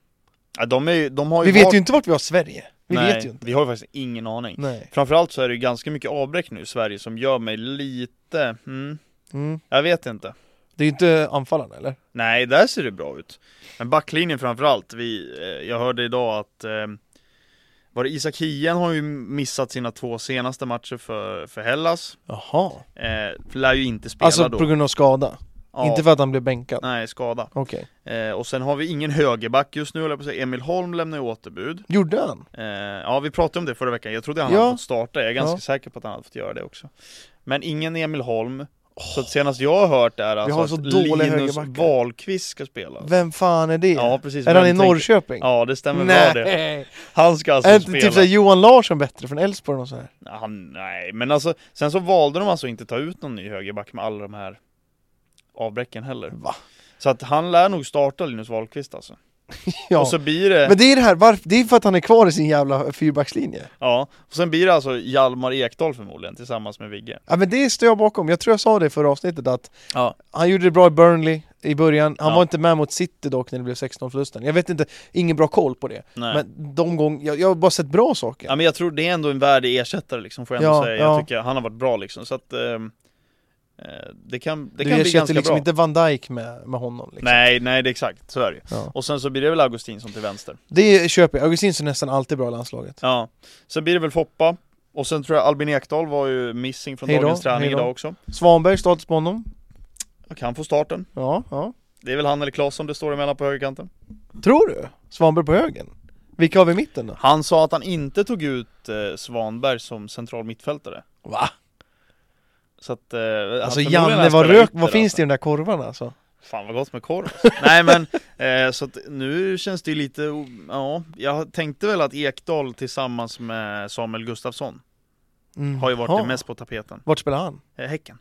[SPEAKER 2] ja, de, är, ju- de har ju
[SPEAKER 1] Vi vet
[SPEAKER 2] valt-
[SPEAKER 1] ju inte vart vi har Sverige. Vi
[SPEAKER 2] Nej,
[SPEAKER 1] vet ju inte.
[SPEAKER 2] vi har ju faktiskt ingen aning
[SPEAKER 1] Nej.
[SPEAKER 2] Framförallt så är det ju ganska mycket avbräck nu i Sverige som gör mig lite, mm,
[SPEAKER 1] Mm.
[SPEAKER 2] jag vet inte
[SPEAKER 1] Det är ju inte anfallarna eller?
[SPEAKER 2] Nej, där ser det bra ut Men backlinjen framförallt, vi, eh, jag hörde idag att eh, var det Isak Hien har ju missat sina två senaste matcher för, för Hellas
[SPEAKER 1] Jaha.
[SPEAKER 2] Eh, lär ju inte spela
[SPEAKER 1] Alltså
[SPEAKER 2] då.
[SPEAKER 1] på grund av skada?
[SPEAKER 2] Ja,
[SPEAKER 1] Inte för att han blev bänkad?
[SPEAKER 2] Nej, skada.
[SPEAKER 1] Okej.
[SPEAKER 2] Eh, och sen har vi ingen högerback just nu, höll jag på att säga. Emil Holm lämnar ju återbud.
[SPEAKER 1] Gjorde han?
[SPEAKER 2] Eh, ja, vi pratade om det förra veckan. Jag trodde han
[SPEAKER 1] Ja.
[SPEAKER 2] hade fått starta. Jag är ganska
[SPEAKER 1] Ja.
[SPEAKER 2] säker på att han hade fått göra det också. Men ingen Emil Holm. Så att senast jag har hört är alltså
[SPEAKER 1] har så
[SPEAKER 2] att
[SPEAKER 1] dåliga
[SPEAKER 2] Linus
[SPEAKER 1] högerbackar.
[SPEAKER 2] Wahlqvist ska spela.
[SPEAKER 1] Vem fan är det?
[SPEAKER 2] Ja, precis.
[SPEAKER 1] är
[SPEAKER 2] Vem
[SPEAKER 1] han i
[SPEAKER 2] tänker-
[SPEAKER 1] Norrköping?
[SPEAKER 2] Ja, det stämmer
[SPEAKER 1] Nej.
[SPEAKER 2] bra det. Han ska alltså
[SPEAKER 1] Är inte
[SPEAKER 2] spela.
[SPEAKER 1] typ såhär Johan Larsson bättre från Elfsborg och så här?
[SPEAKER 2] Han, nej, men alltså sen så valde de alltså inte ta ut någon ny högerback med alla de här avbräcken heller.
[SPEAKER 1] Va?
[SPEAKER 2] Så att han lär nog starta Linus Wahlqvist alltså.
[SPEAKER 1] Ja.
[SPEAKER 2] Och så blir det,
[SPEAKER 1] Men det är det här, varför, det är för att han är kvar i sin jävla fyrbackslinje.
[SPEAKER 2] ja, och sen blir det alltså Hjalmar Ekdal förmodligen tillsammans med Vigge.
[SPEAKER 1] Ja men det står jag bakom, jag tror jag sa det i förra avsnittet att
[SPEAKER 2] Ja.
[SPEAKER 1] Han gjorde det bra i Burnley i början, han
[SPEAKER 2] Ja.
[SPEAKER 1] var inte med mot City dock när det blev 16-förlusten Jag vet inte, ingen bra koll på det
[SPEAKER 2] Nej. Men,
[SPEAKER 1] Men de gång, jag, jag har bara sett bra saker
[SPEAKER 2] ja, men jag tror det är ändå en värdig ersättare liksom, får jag ändå
[SPEAKER 1] Ja,
[SPEAKER 2] säga.
[SPEAKER 1] ja.
[SPEAKER 2] Jag tycker han har varit bra liksom, så att ehm, eh, det kan, det
[SPEAKER 1] Du
[SPEAKER 2] kan bli
[SPEAKER 1] ersätter
[SPEAKER 2] ganska
[SPEAKER 1] liksom
[SPEAKER 2] bra.
[SPEAKER 1] inte Van Dijk med, med honom liksom.
[SPEAKER 2] Nej, nej, det är exakt, så är det ju.
[SPEAKER 1] Ja.
[SPEAKER 2] Och sen så blir det väl Augustinsson till vänster.
[SPEAKER 1] Det köper jag, Augustinsson är nästan alltid bra i landslaget
[SPEAKER 2] Ja, sen blir det väl Foppa och sen tror jag Albin Ekdal var ju missing från
[SPEAKER 1] Hej då,
[SPEAKER 2] dagens träning
[SPEAKER 1] hej då.
[SPEAKER 2] idag också.
[SPEAKER 1] Svanberg, status på honom
[SPEAKER 2] Och han får starten.
[SPEAKER 1] Ja, ja
[SPEAKER 2] Det är väl han eller Claesson det står emellan på högerkanten.
[SPEAKER 1] Tror du? Svanberg på högen? Vilka har vi i mitten då?
[SPEAKER 2] Han sa att han inte tog ut eh, Svanberg som central mittfältare.
[SPEAKER 1] Va?
[SPEAKER 2] Så att... Eh, att
[SPEAKER 1] Alltså
[SPEAKER 2] förmodligen han
[SPEAKER 1] Janne, vad,
[SPEAKER 2] spelar
[SPEAKER 1] rök,
[SPEAKER 2] ytter,
[SPEAKER 1] vad finns
[SPEAKER 2] alltså.
[SPEAKER 1] det i de där korvarna alltså?
[SPEAKER 2] Fan vad gott med korv. Nej men, eh, så att nu känns det ju lite, o- ja, jag tänkte väl att Ekdal tillsammans med Samuel Gustafsson
[SPEAKER 1] Mm.
[SPEAKER 2] har ju varit
[SPEAKER 1] Ja.
[SPEAKER 2] det mest på tapeten.
[SPEAKER 1] Vart spelar han?
[SPEAKER 2] Eh, häcken.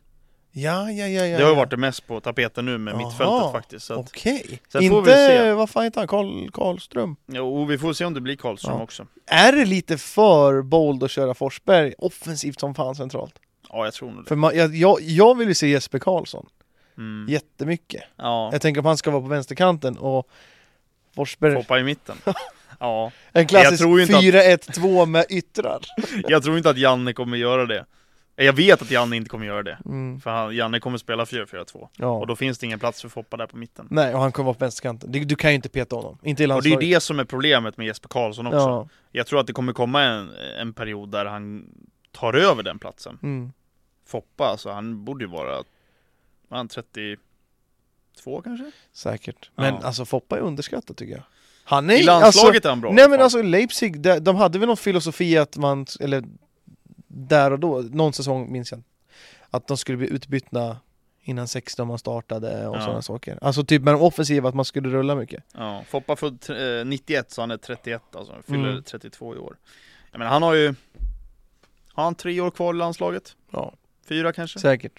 [SPEAKER 1] Ja, ja, ja, ja.
[SPEAKER 2] Det har
[SPEAKER 1] ja.
[SPEAKER 2] ju varit det mest på tapeten nu med
[SPEAKER 1] Jaha.
[SPEAKER 2] mittfältet faktiskt. Så att,
[SPEAKER 1] Okej.
[SPEAKER 2] Sen får vi se.
[SPEAKER 1] Inte, vad fan heter han, Karl, Karlström?
[SPEAKER 2] jo, vi får se om det blir Karlström
[SPEAKER 1] Ja.
[SPEAKER 2] också.
[SPEAKER 1] Är det lite för bold att köra Forsberg offensivt som fan centralt?
[SPEAKER 2] Ja, jag tror nog det.
[SPEAKER 1] För man, jag, jag, jag vill ju se Jesper Karlsson
[SPEAKER 2] Mm.
[SPEAKER 1] jättemycket.
[SPEAKER 2] Ja,
[SPEAKER 1] Jag tänker om han ska vara på vänsterkanten och Forsberg,
[SPEAKER 2] Foppa i mitten. Ja,
[SPEAKER 1] en klassisk
[SPEAKER 2] tror ju inte att-
[SPEAKER 1] 4-1-2 med yttrar.
[SPEAKER 2] jag tror inte att Janne kommer göra det. Eh, Jag vet att Janne inte kommer göra det.
[SPEAKER 1] Mm.
[SPEAKER 2] För han, Janne kommer spela 4-4-2. Och
[SPEAKER 1] Ja.
[SPEAKER 2] då finns det ingen plats för Foppa där på mitten.
[SPEAKER 1] Nej, och han kommer vara på vänsterkanten. Du, du kan ju inte peta honom. Inte i
[SPEAKER 2] Och det är ju
[SPEAKER 1] landslaget.
[SPEAKER 2] det som är problemet med Jesper Karlsson också.
[SPEAKER 1] ja.
[SPEAKER 2] Jag tror att det kommer komma en, en period där han tar över den platsen.
[SPEAKER 1] mm.
[SPEAKER 2] Foppa, alltså han borde ju vara, var han 32 kanske?
[SPEAKER 1] Säkert. Men
[SPEAKER 2] Ja.
[SPEAKER 1] alltså Foppa är underskattad tycker jag. Han är
[SPEAKER 2] I
[SPEAKER 1] alltså,
[SPEAKER 2] landslaget är han bra.
[SPEAKER 1] Nej men alltså Leipzig, de, de hade väl någon filosofi att man, eller där och då, någon säsong minns jag Att de skulle bli utbytta innan 16 man startade och
[SPEAKER 2] Ja.
[SPEAKER 1] sådana saker Alltså typ med de offensiva, att man skulle rulla mycket
[SPEAKER 2] ja, Foppa född eh, 91 så han är 31 alltså, han fyller
[SPEAKER 1] Mm.
[SPEAKER 2] 32 i år. Jag menar han har ju, har han tre år kvar i landslaget?
[SPEAKER 1] Ja,
[SPEAKER 2] Fyra kanske? Så
[SPEAKER 1] säkert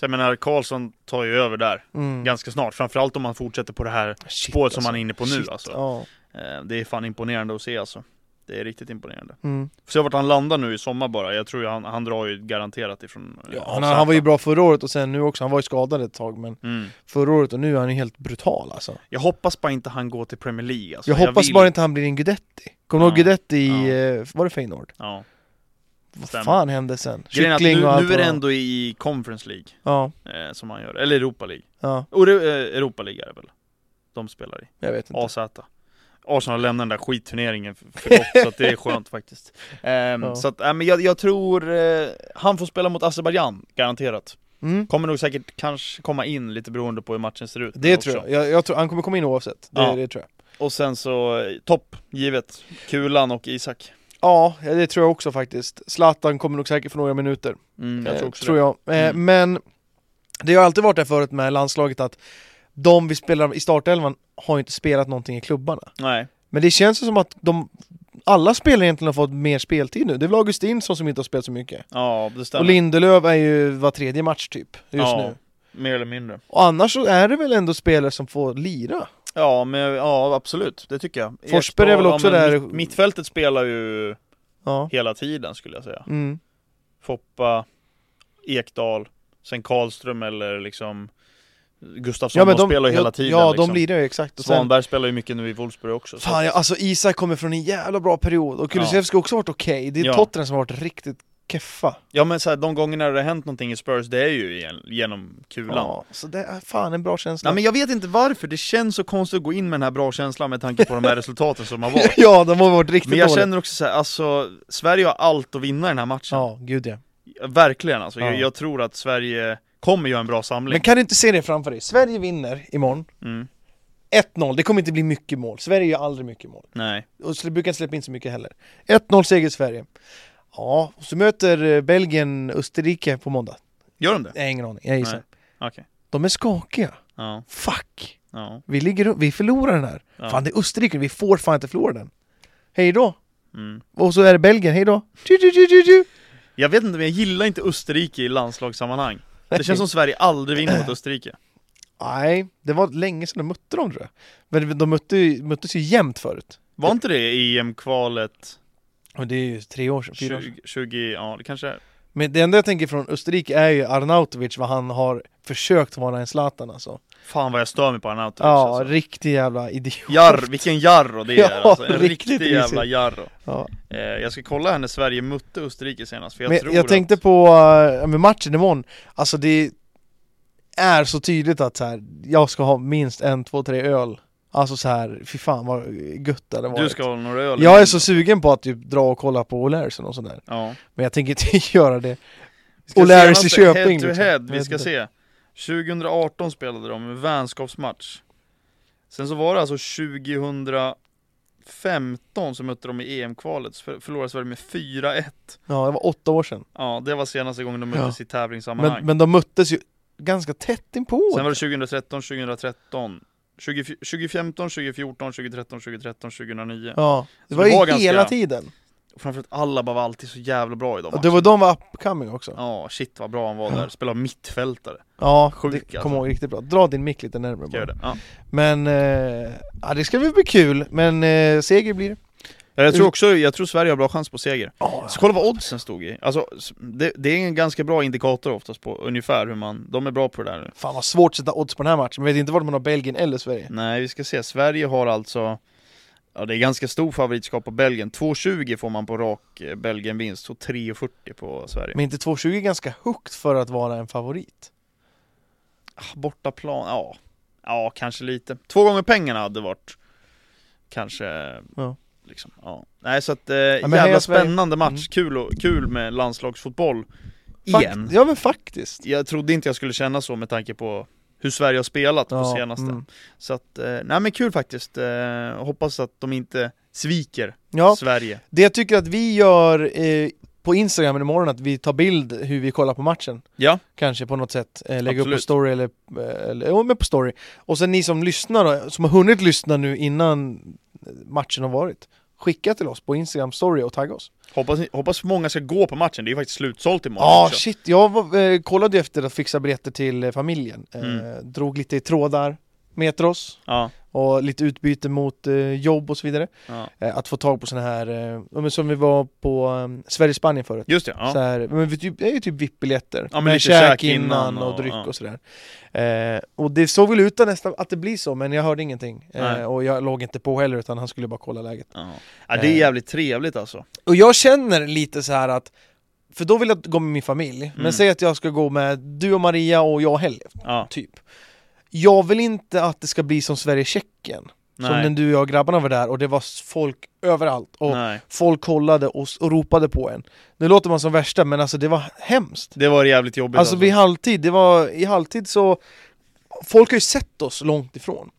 [SPEAKER 2] jag menar Karlsson tar ju över där
[SPEAKER 1] mm.
[SPEAKER 2] ganska snart, framförallt om han fortsätter på det här
[SPEAKER 1] Shit,
[SPEAKER 2] spåret som
[SPEAKER 1] alltså.
[SPEAKER 2] han är inne på nu
[SPEAKER 1] Shit,
[SPEAKER 2] alltså.
[SPEAKER 1] Ja,
[SPEAKER 2] Eh, Det är fan imponerande att se alltså. Det är riktigt imponerande.
[SPEAKER 1] mm.
[SPEAKER 2] Får se vart han landar nu i sommar bara, jag tror ju han, han drar ju garanterat ifrån eh,
[SPEAKER 1] ja han,
[SPEAKER 2] Zlatan.
[SPEAKER 1] han var ju bra förra året och sen nu också, han var ju skadad ett tag men
[SPEAKER 2] mm.
[SPEAKER 1] Förra året och nu är han ju helt brutal alltså
[SPEAKER 2] Jag hoppas bara inte han går till Premier League alltså.
[SPEAKER 1] Jag hoppas
[SPEAKER 2] vill-
[SPEAKER 1] bara inte han blir en Guidetti Kommer du
[SPEAKER 2] Ja.
[SPEAKER 1] ihåg Guidetti i,
[SPEAKER 2] Ja.
[SPEAKER 1] eh, var det Feyenoord?
[SPEAKER 2] ja.
[SPEAKER 1] Vad
[SPEAKER 2] Stämmer.
[SPEAKER 1] fan hände sen?
[SPEAKER 2] Grejen är att
[SPEAKER 1] Kyckling och
[SPEAKER 2] nu,
[SPEAKER 1] allt
[SPEAKER 2] nu är
[SPEAKER 1] vad
[SPEAKER 2] det
[SPEAKER 1] var.
[SPEAKER 2] ändå i Conference League
[SPEAKER 1] Ja,
[SPEAKER 2] eh, som han gör, eller Europa League.
[SPEAKER 1] ja,
[SPEAKER 2] Och det, eh, Europa League är det väl? De spelar i,
[SPEAKER 1] jag vet inte
[SPEAKER 2] AZ. Arsenal lämnar den där skitturneringen för, för gott, så att det är skönt faktiskt. Ehm,
[SPEAKER 1] Ja.
[SPEAKER 2] Så att, äh, men jag, jag tror eh, han får spela mot Azerbaijan garanterat.
[SPEAKER 1] Mm.
[SPEAKER 2] Kommer nog säkert kanske komma in lite beroende på hur matchen ser ut.
[SPEAKER 1] Det
[SPEAKER 2] också.
[SPEAKER 1] tror jag. jag, jag tror, han kommer komma in oavsett, det,
[SPEAKER 2] Ja.
[SPEAKER 1] det tror jag
[SPEAKER 2] Och sen så, eh, topp, givet. Kulan och Isak.
[SPEAKER 1] Ja, det tror jag också faktiskt Zlatan kommer nog säkert få några minuter,
[SPEAKER 2] Mm, jag tror
[SPEAKER 1] eh,
[SPEAKER 2] också
[SPEAKER 1] tror
[SPEAKER 2] det.
[SPEAKER 1] jag. Eh,
[SPEAKER 2] Mm.
[SPEAKER 1] Men det har alltid varit där förut med landslaget att de vi spelar i startelvan har ju inte spelat någonting i klubbarna
[SPEAKER 2] Nej.
[SPEAKER 1] Men det känns ju som att de, alla spelare egentligen har fått mer speltid nu Det är väl Augustinsson som inte har spelat så mycket
[SPEAKER 2] Ja, det stämmer.
[SPEAKER 1] Och Lindelöf är ju var tredje match typ, just
[SPEAKER 2] ja,
[SPEAKER 1] nu
[SPEAKER 2] Mer eller mindre.
[SPEAKER 1] Och annars så är det väl ändå spelare som får lira?
[SPEAKER 2] Ja, men, ja absolut. Det tycker jag.
[SPEAKER 1] Forsberg är väl
[SPEAKER 2] Ekdal,
[SPEAKER 1] också
[SPEAKER 2] men
[SPEAKER 1] där-
[SPEAKER 2] mitt- Mittfältet spelar ju
[SPEAKER 1] Ja,
[SPEAKER 2] hela tiden skulle jag säga.
[SPEAKER 1] mm.
[SPEAKER 2] Foppa, Ekdal, sen Karlström eller liksom Gustafsson.
[SPEAKER 1] ja men
[SPEAKER 2] de, spelar ju hela tiden.
[SPEAKER 1] Ja,
[SPEAKER 2] liksom.
[SPEAKER 1] de lirar ju exakt Och sen-
[SPEAKER 2] Svanberg spelar ju mycket nu i Wolfsburg också. så-
[SPEAKER 1] Fan, jag, alltså Isak kommer från en jävla bra period och Kulusevski har också varit okej. Det är
[SPEAKER 2] Ja.
[SPEAKER 1] Tottenham som har varit riktigt keffa.
[SPEAKER 2] Ja men så här, de gångerna det har hänt någonting i Spurs, det är ju igen, genom kulan.
[SPEAKER 1] Ja, så det är fan en bra känsla.
[SPEAKER 2] Nej men jag vet inte varför, det känns så konstigt att gå in med den här bra känslan med tanke på de här resultaten som har varit.
[SPEAKER 1] ja, de har varit riktigt
[SPEAKER 2] Men jag
[SPEAKER 1] dåliga.
[SPEAKER 2] känner också så här, alltså Sverige har allt att vinna i den här matchen.
[SPEAKER 1] Ja, gud ja.
[SPEAKER 2] Verkligen alltså,
[SPEAKER 1] Ja.
[SPEAKER 2] jag, jag tror att Sverige kommer göra en bra samling.
[SPEAKER 1] Men kan du inte se det framför dig? Sverige vinner imorgon.
[SPEAKER 2] Mm.
[SPEAKER 1] 1-0, det kommer inte bli mycket mål. Sverige gör aldrig mycket mål.
[SPEAKER 2] Nej.
[SPEAKER 1] Och så brukar inte släppa in så mycket heller. 1-0 seger Sverige. Ja, och så möter eh, Belgien Österrike på måndag.
[SPEAKER 2] Gör de det?
[SPEAKER 1] Jag har ingen aning, jag gissar.
[SPEAKER 2] Nej. Okej.
[SPEAKER 1] De är skakiga.
[SPEAKER 2] Ja,
[SPEAKER 1] Fuck!
[SPEAKER 2] ja,
[SPEAKER 1] Vi, ligger, upp- vi förlorar den här.
[SPEAKER 2] Ja.
[SPEAKER 1] Fan, det är Österrike, vi får fan inte förlora den. Hej då!
[SPEAKER 2] mm.
[SPEAKER 1] Och så är det Belgien, hej då! Du, du, du, du, du.
[SPEAKER 2] Jag vet inte, men jag gillar inte Österrike i landslagssammanhang. Det känns som Sverige aldrig vinner mot Österrike.
[SPEAKER 1] Nej, det var länge sedan de mötte dem tror jag. Men de mötte, ju- möttes ju jämnt förut.
[SPEAKER 2] Var inte det EM-kvalet
[SPEAKER 1] Men det är ju tre år sedan, fyra år sedan.
[SPEAKER 2] 20, 20, ja det kanske är.
[SPEAKER 1] Men det enda jag tänker från Österrike är ju Arnautovic, vad han har försökt vara en Zlatan alltså.
[SPEAKER 2] Fan vad jag stör mig på Arnautovic
[SPEAKER 1] Ja,
[SPEAKER 2] alltså.
[SPEAKER 1] riktig jävla idiot.
[SPEAKER 2] Jarr, vilken jarro det är
[SPEAKER 1] Ja,
[SPEAKER 2] alltså. En
[SPEAKER 1] riktigt
[SPEAKER 2] riktig jävla
[SPEAKER 1] risig.
[SPEAKER 2] jarro.
[SPEAKER 1] Ja.
[SPEAKER 2] Eh, jag ska kolla här när Sverige mötte Österrike senast, för jag
[SPEAKER 1] Men
[SPEAKER 2] tror
[SPEAKER 1] jag, tänkte
[SPEAKER 2] att...
[SPEAKER 1] på äh, med matchen imorgon, alltså det är så tydligt att så här, jag ska ha minst en, två, tre öl. Alltså så här, fy fan vad gött det hade varit.
[SPEAKER 2] Du ska ha några öl i
[SPEAKER 1] Jag är
[SPEAKER 2] munnen.
[SPEAKER 1] så sugen på att typ dra och kolla på O'Larys och sånt där
[SPEAKER 2] Ja.
[SPEAKER 1] Men jag tänker inte göra det
[SPEAKER 2] Vi ska
[SPEAKER 1] Och
[SPEAKER 2] se
[SPEAKER 1] Larrys i
[SPEAKER 2] nästa
[SPEAKER 1] Köping,
[SPEAKER 2] Head to
[SPEAKER 1] liksom.
[SPEAKER 2] head,
[SPEAKER 1] Jag
[SPEAKER 2] vi
[SPEAKER 1] vet
[SPEAKER 2] ska
[SPEAKER 1] inte.
[SPEAKER 2] se 2018 spelade de en vänskapsmatch Sen så var det alltså 2014 2015 så mötte de i EM-kvalet, så för- förlorade Sverige med 4-1
[SPEAKER 1] Ja, det var åtta år sedan.
[SPEAKER 2] Ja, det var senaste gången de möttes i tävlingssammanhang
[SPEAKER 1] Men, men de möttes ju ganska tätt inpå.
[SPEAKER 2] Sen var det 2013, 2013 20, 2015, 2014, 2013, 2013, 2009
[SPEAKER 1] Ja, det
[SPEAKER 2] Så
[SPEAKER 1] var
[SPEAKER 2] det
[SPEAKER 1] ju
[SPEAKER 2] var
[SPEAKER 1] hela
[SPEAKER 2] ganska-
[SPEAKER 1] tiden.
[SPEAKER 2] Och Framförallt alla bara var alltid så jävla bra i de
[SPEAKER 1] Och det
[SPEAKER 2] matcherna.
[SPEAKER 1] var de var upcoming också.
[SPEAKER 2] Ja, shit vad bra han var där, spelade mittfältare
[SPEAKER 1] Ja,
[SPEAKER 2] Sjuk,
[SPEAKER 1] det
[SPEAKER 2] alltså.
[SPEAKER 1] kommer ihåg riktigt bra. Dra din mick lite närmare
[SPEAKER 2] Ska jag
[SPEAKER 1] bara.
[SPEAKER 2] göra det? Ja.
[SPEAKER 1] Men, eh, ja det ska väl bli kul. Men eh, seger blir det.
[SPEAKER 2] Jag tror också, jag tror Sverige har bra chans på seger
[SPEAKER 1] Ja,
[SPEAKER 2] Så kolla vad oddsen stod i, alltså s- det, det är en ganska bra indikator oftast på ungefär hur man, de är bra på det där nu
[SPEAKER 1] Fan vad svårt att sätta odds på den här matchen. Man vet inte vart man har Belgien eller Sverige.
[SPEAKER 2] Nej, vi ska se. Sverige har alltså, ja det är ganska stor favoritskap på Belgien. 2,20 får man på rak eh, Belgien-vinst och 3,40 på Sverige.
[SPEAKER 1] Men inte 2,20 är ganska högt för att vara en favorit.
[SPEAKER 2] Ah, Bortaplan, ja. Ja, kanske lite. Två gånger pengarna hade varit kanske...
[SPEAKER 1] Ja.
[SPEAKER 2] Liksom, ja. Nej, så att eh,
[SPEAKER 1] heja
[SPEAKER 2] jävla
[SPEAKER 1] Sverige.
[SPEAKER 2] spännande match.
[SPEAKER 1] Mm.
[SPEAKER 2] Kul, och, kul med landslagsfotboll.
[SPEAKER 1] Fakt-
[SPEAKER 2] Igen.
[SPEAKER 1] Ja men faktiskt.
[SPEAKER 2] Jag trodde inte jag skulle känna så med tanke på hur Sverige har spelat på
[SPEAKER 1] Ja,
[SPEAKER 2] senaste.
[SPEAKER 1] mm.
[SPEAKER 2] Så att, eh, nej men kul faktiskt. Eh, hoppas att de inte sviker
[SPEAKER 1] Ja,
[SPEAKER 2] Sverige.
[SPEAKER 1] det jag tycker att vi gör eh, på Instagram imorgon att vi tar bild hur vi kollar på matchen.
[SPEAKER 2] Ja.
[SPEAKER 1] Kanske på något sätt, eh, lägga upp på
[SPEAKER 2] Absolut.
[SPEAKER 1] story eller, eh, eller jo, men på story. Och sen ni som lyssnar då, som har hunnit lyssna nu innan eh, matchen har varit. Skicka till oss på Instagram story och tagga oss.
[SPEAKER 2] Hoppas, hoppas många ska gå på matchen, det är ju faktiskt slutsålt imorgon
[SPEAKER 1] Ja,
[SPEAKER 2] också.
[SPEAKER 1] shit. Jag var, eh, kollade ju efter att fixa biljetter till eh, familjen. Eh,
[SPEAKER 2] Mm.
[SPEAKER 1] drog lite i trådar, Metros
[SPEAKER 2] ja,
[SPEAKER 1] och lite utbyte mot eh, jobb och så vidare.
[SPEAKER 2] ja.
[SPEAKER 1] Eh, att få tag på sådana här, eh, ja, men som vi var på eh, Sverige-Spanien förut.
[SPEAKER 2] Just det, ja.
[SPEAKER 1] Så här, men vi typ, det är ju typ VIP-biljetter.
[SPEAKER 2] Ja, men
[SPEAKER 1] med
[SPEAKER 2] lite
[SPEAKER 1] käk
[SPEAKER 2] käk
[SPEAKER 1] innan
[SPEAKER 2] innan
[SPEAKER 1] och,
[SPEAKER 2] och-
[SPEAKER 1] dryck
[SPEAKER 2] ja.
[SPEAKER 1] och sådär. Eh, och det såg väl ut att nästan att det blir så, men jag hörde ingenting. Eh,
[SPEAKER 2] Nej.
[SPEAKER 1] och jag låg inte på heller, utan han skulle bara kolla läget.
[SPEAKER 2] ja. ja
[SPEAKER 1] Eh.
[SPEAKER 2] det är jävligt trevligt alltså.
[SPEAKER 1] Och jag känner lite så här att för då vill jag gå med min familj, men
[SPEAKER 2] Mm.
[SPEAKER 1] säg att jag ska gå med du och Maria och jag och Helge,
[SPEAKER 2] Ja,
[SPEAKER 1] typ. Jag vill inte att det ska bli som Sverige-Tjeckien, som
[SPEAKER 2] Nej.
[SPEAKER 1] när du och jag och grabbarna var där och det var s- folk överallt och
[SPEAKER 2] nej.
[SPEAKER 1] folk kollade och, s- och ropade på en. Nu låter man som värsta, men alltså det var hemskt.
[SPEAKER 2] Det var jävligt jobbigt
[SPEAKER 1] Alltså vid halvtid, det var i halvtid så Folk har ju sett oss långt ifrån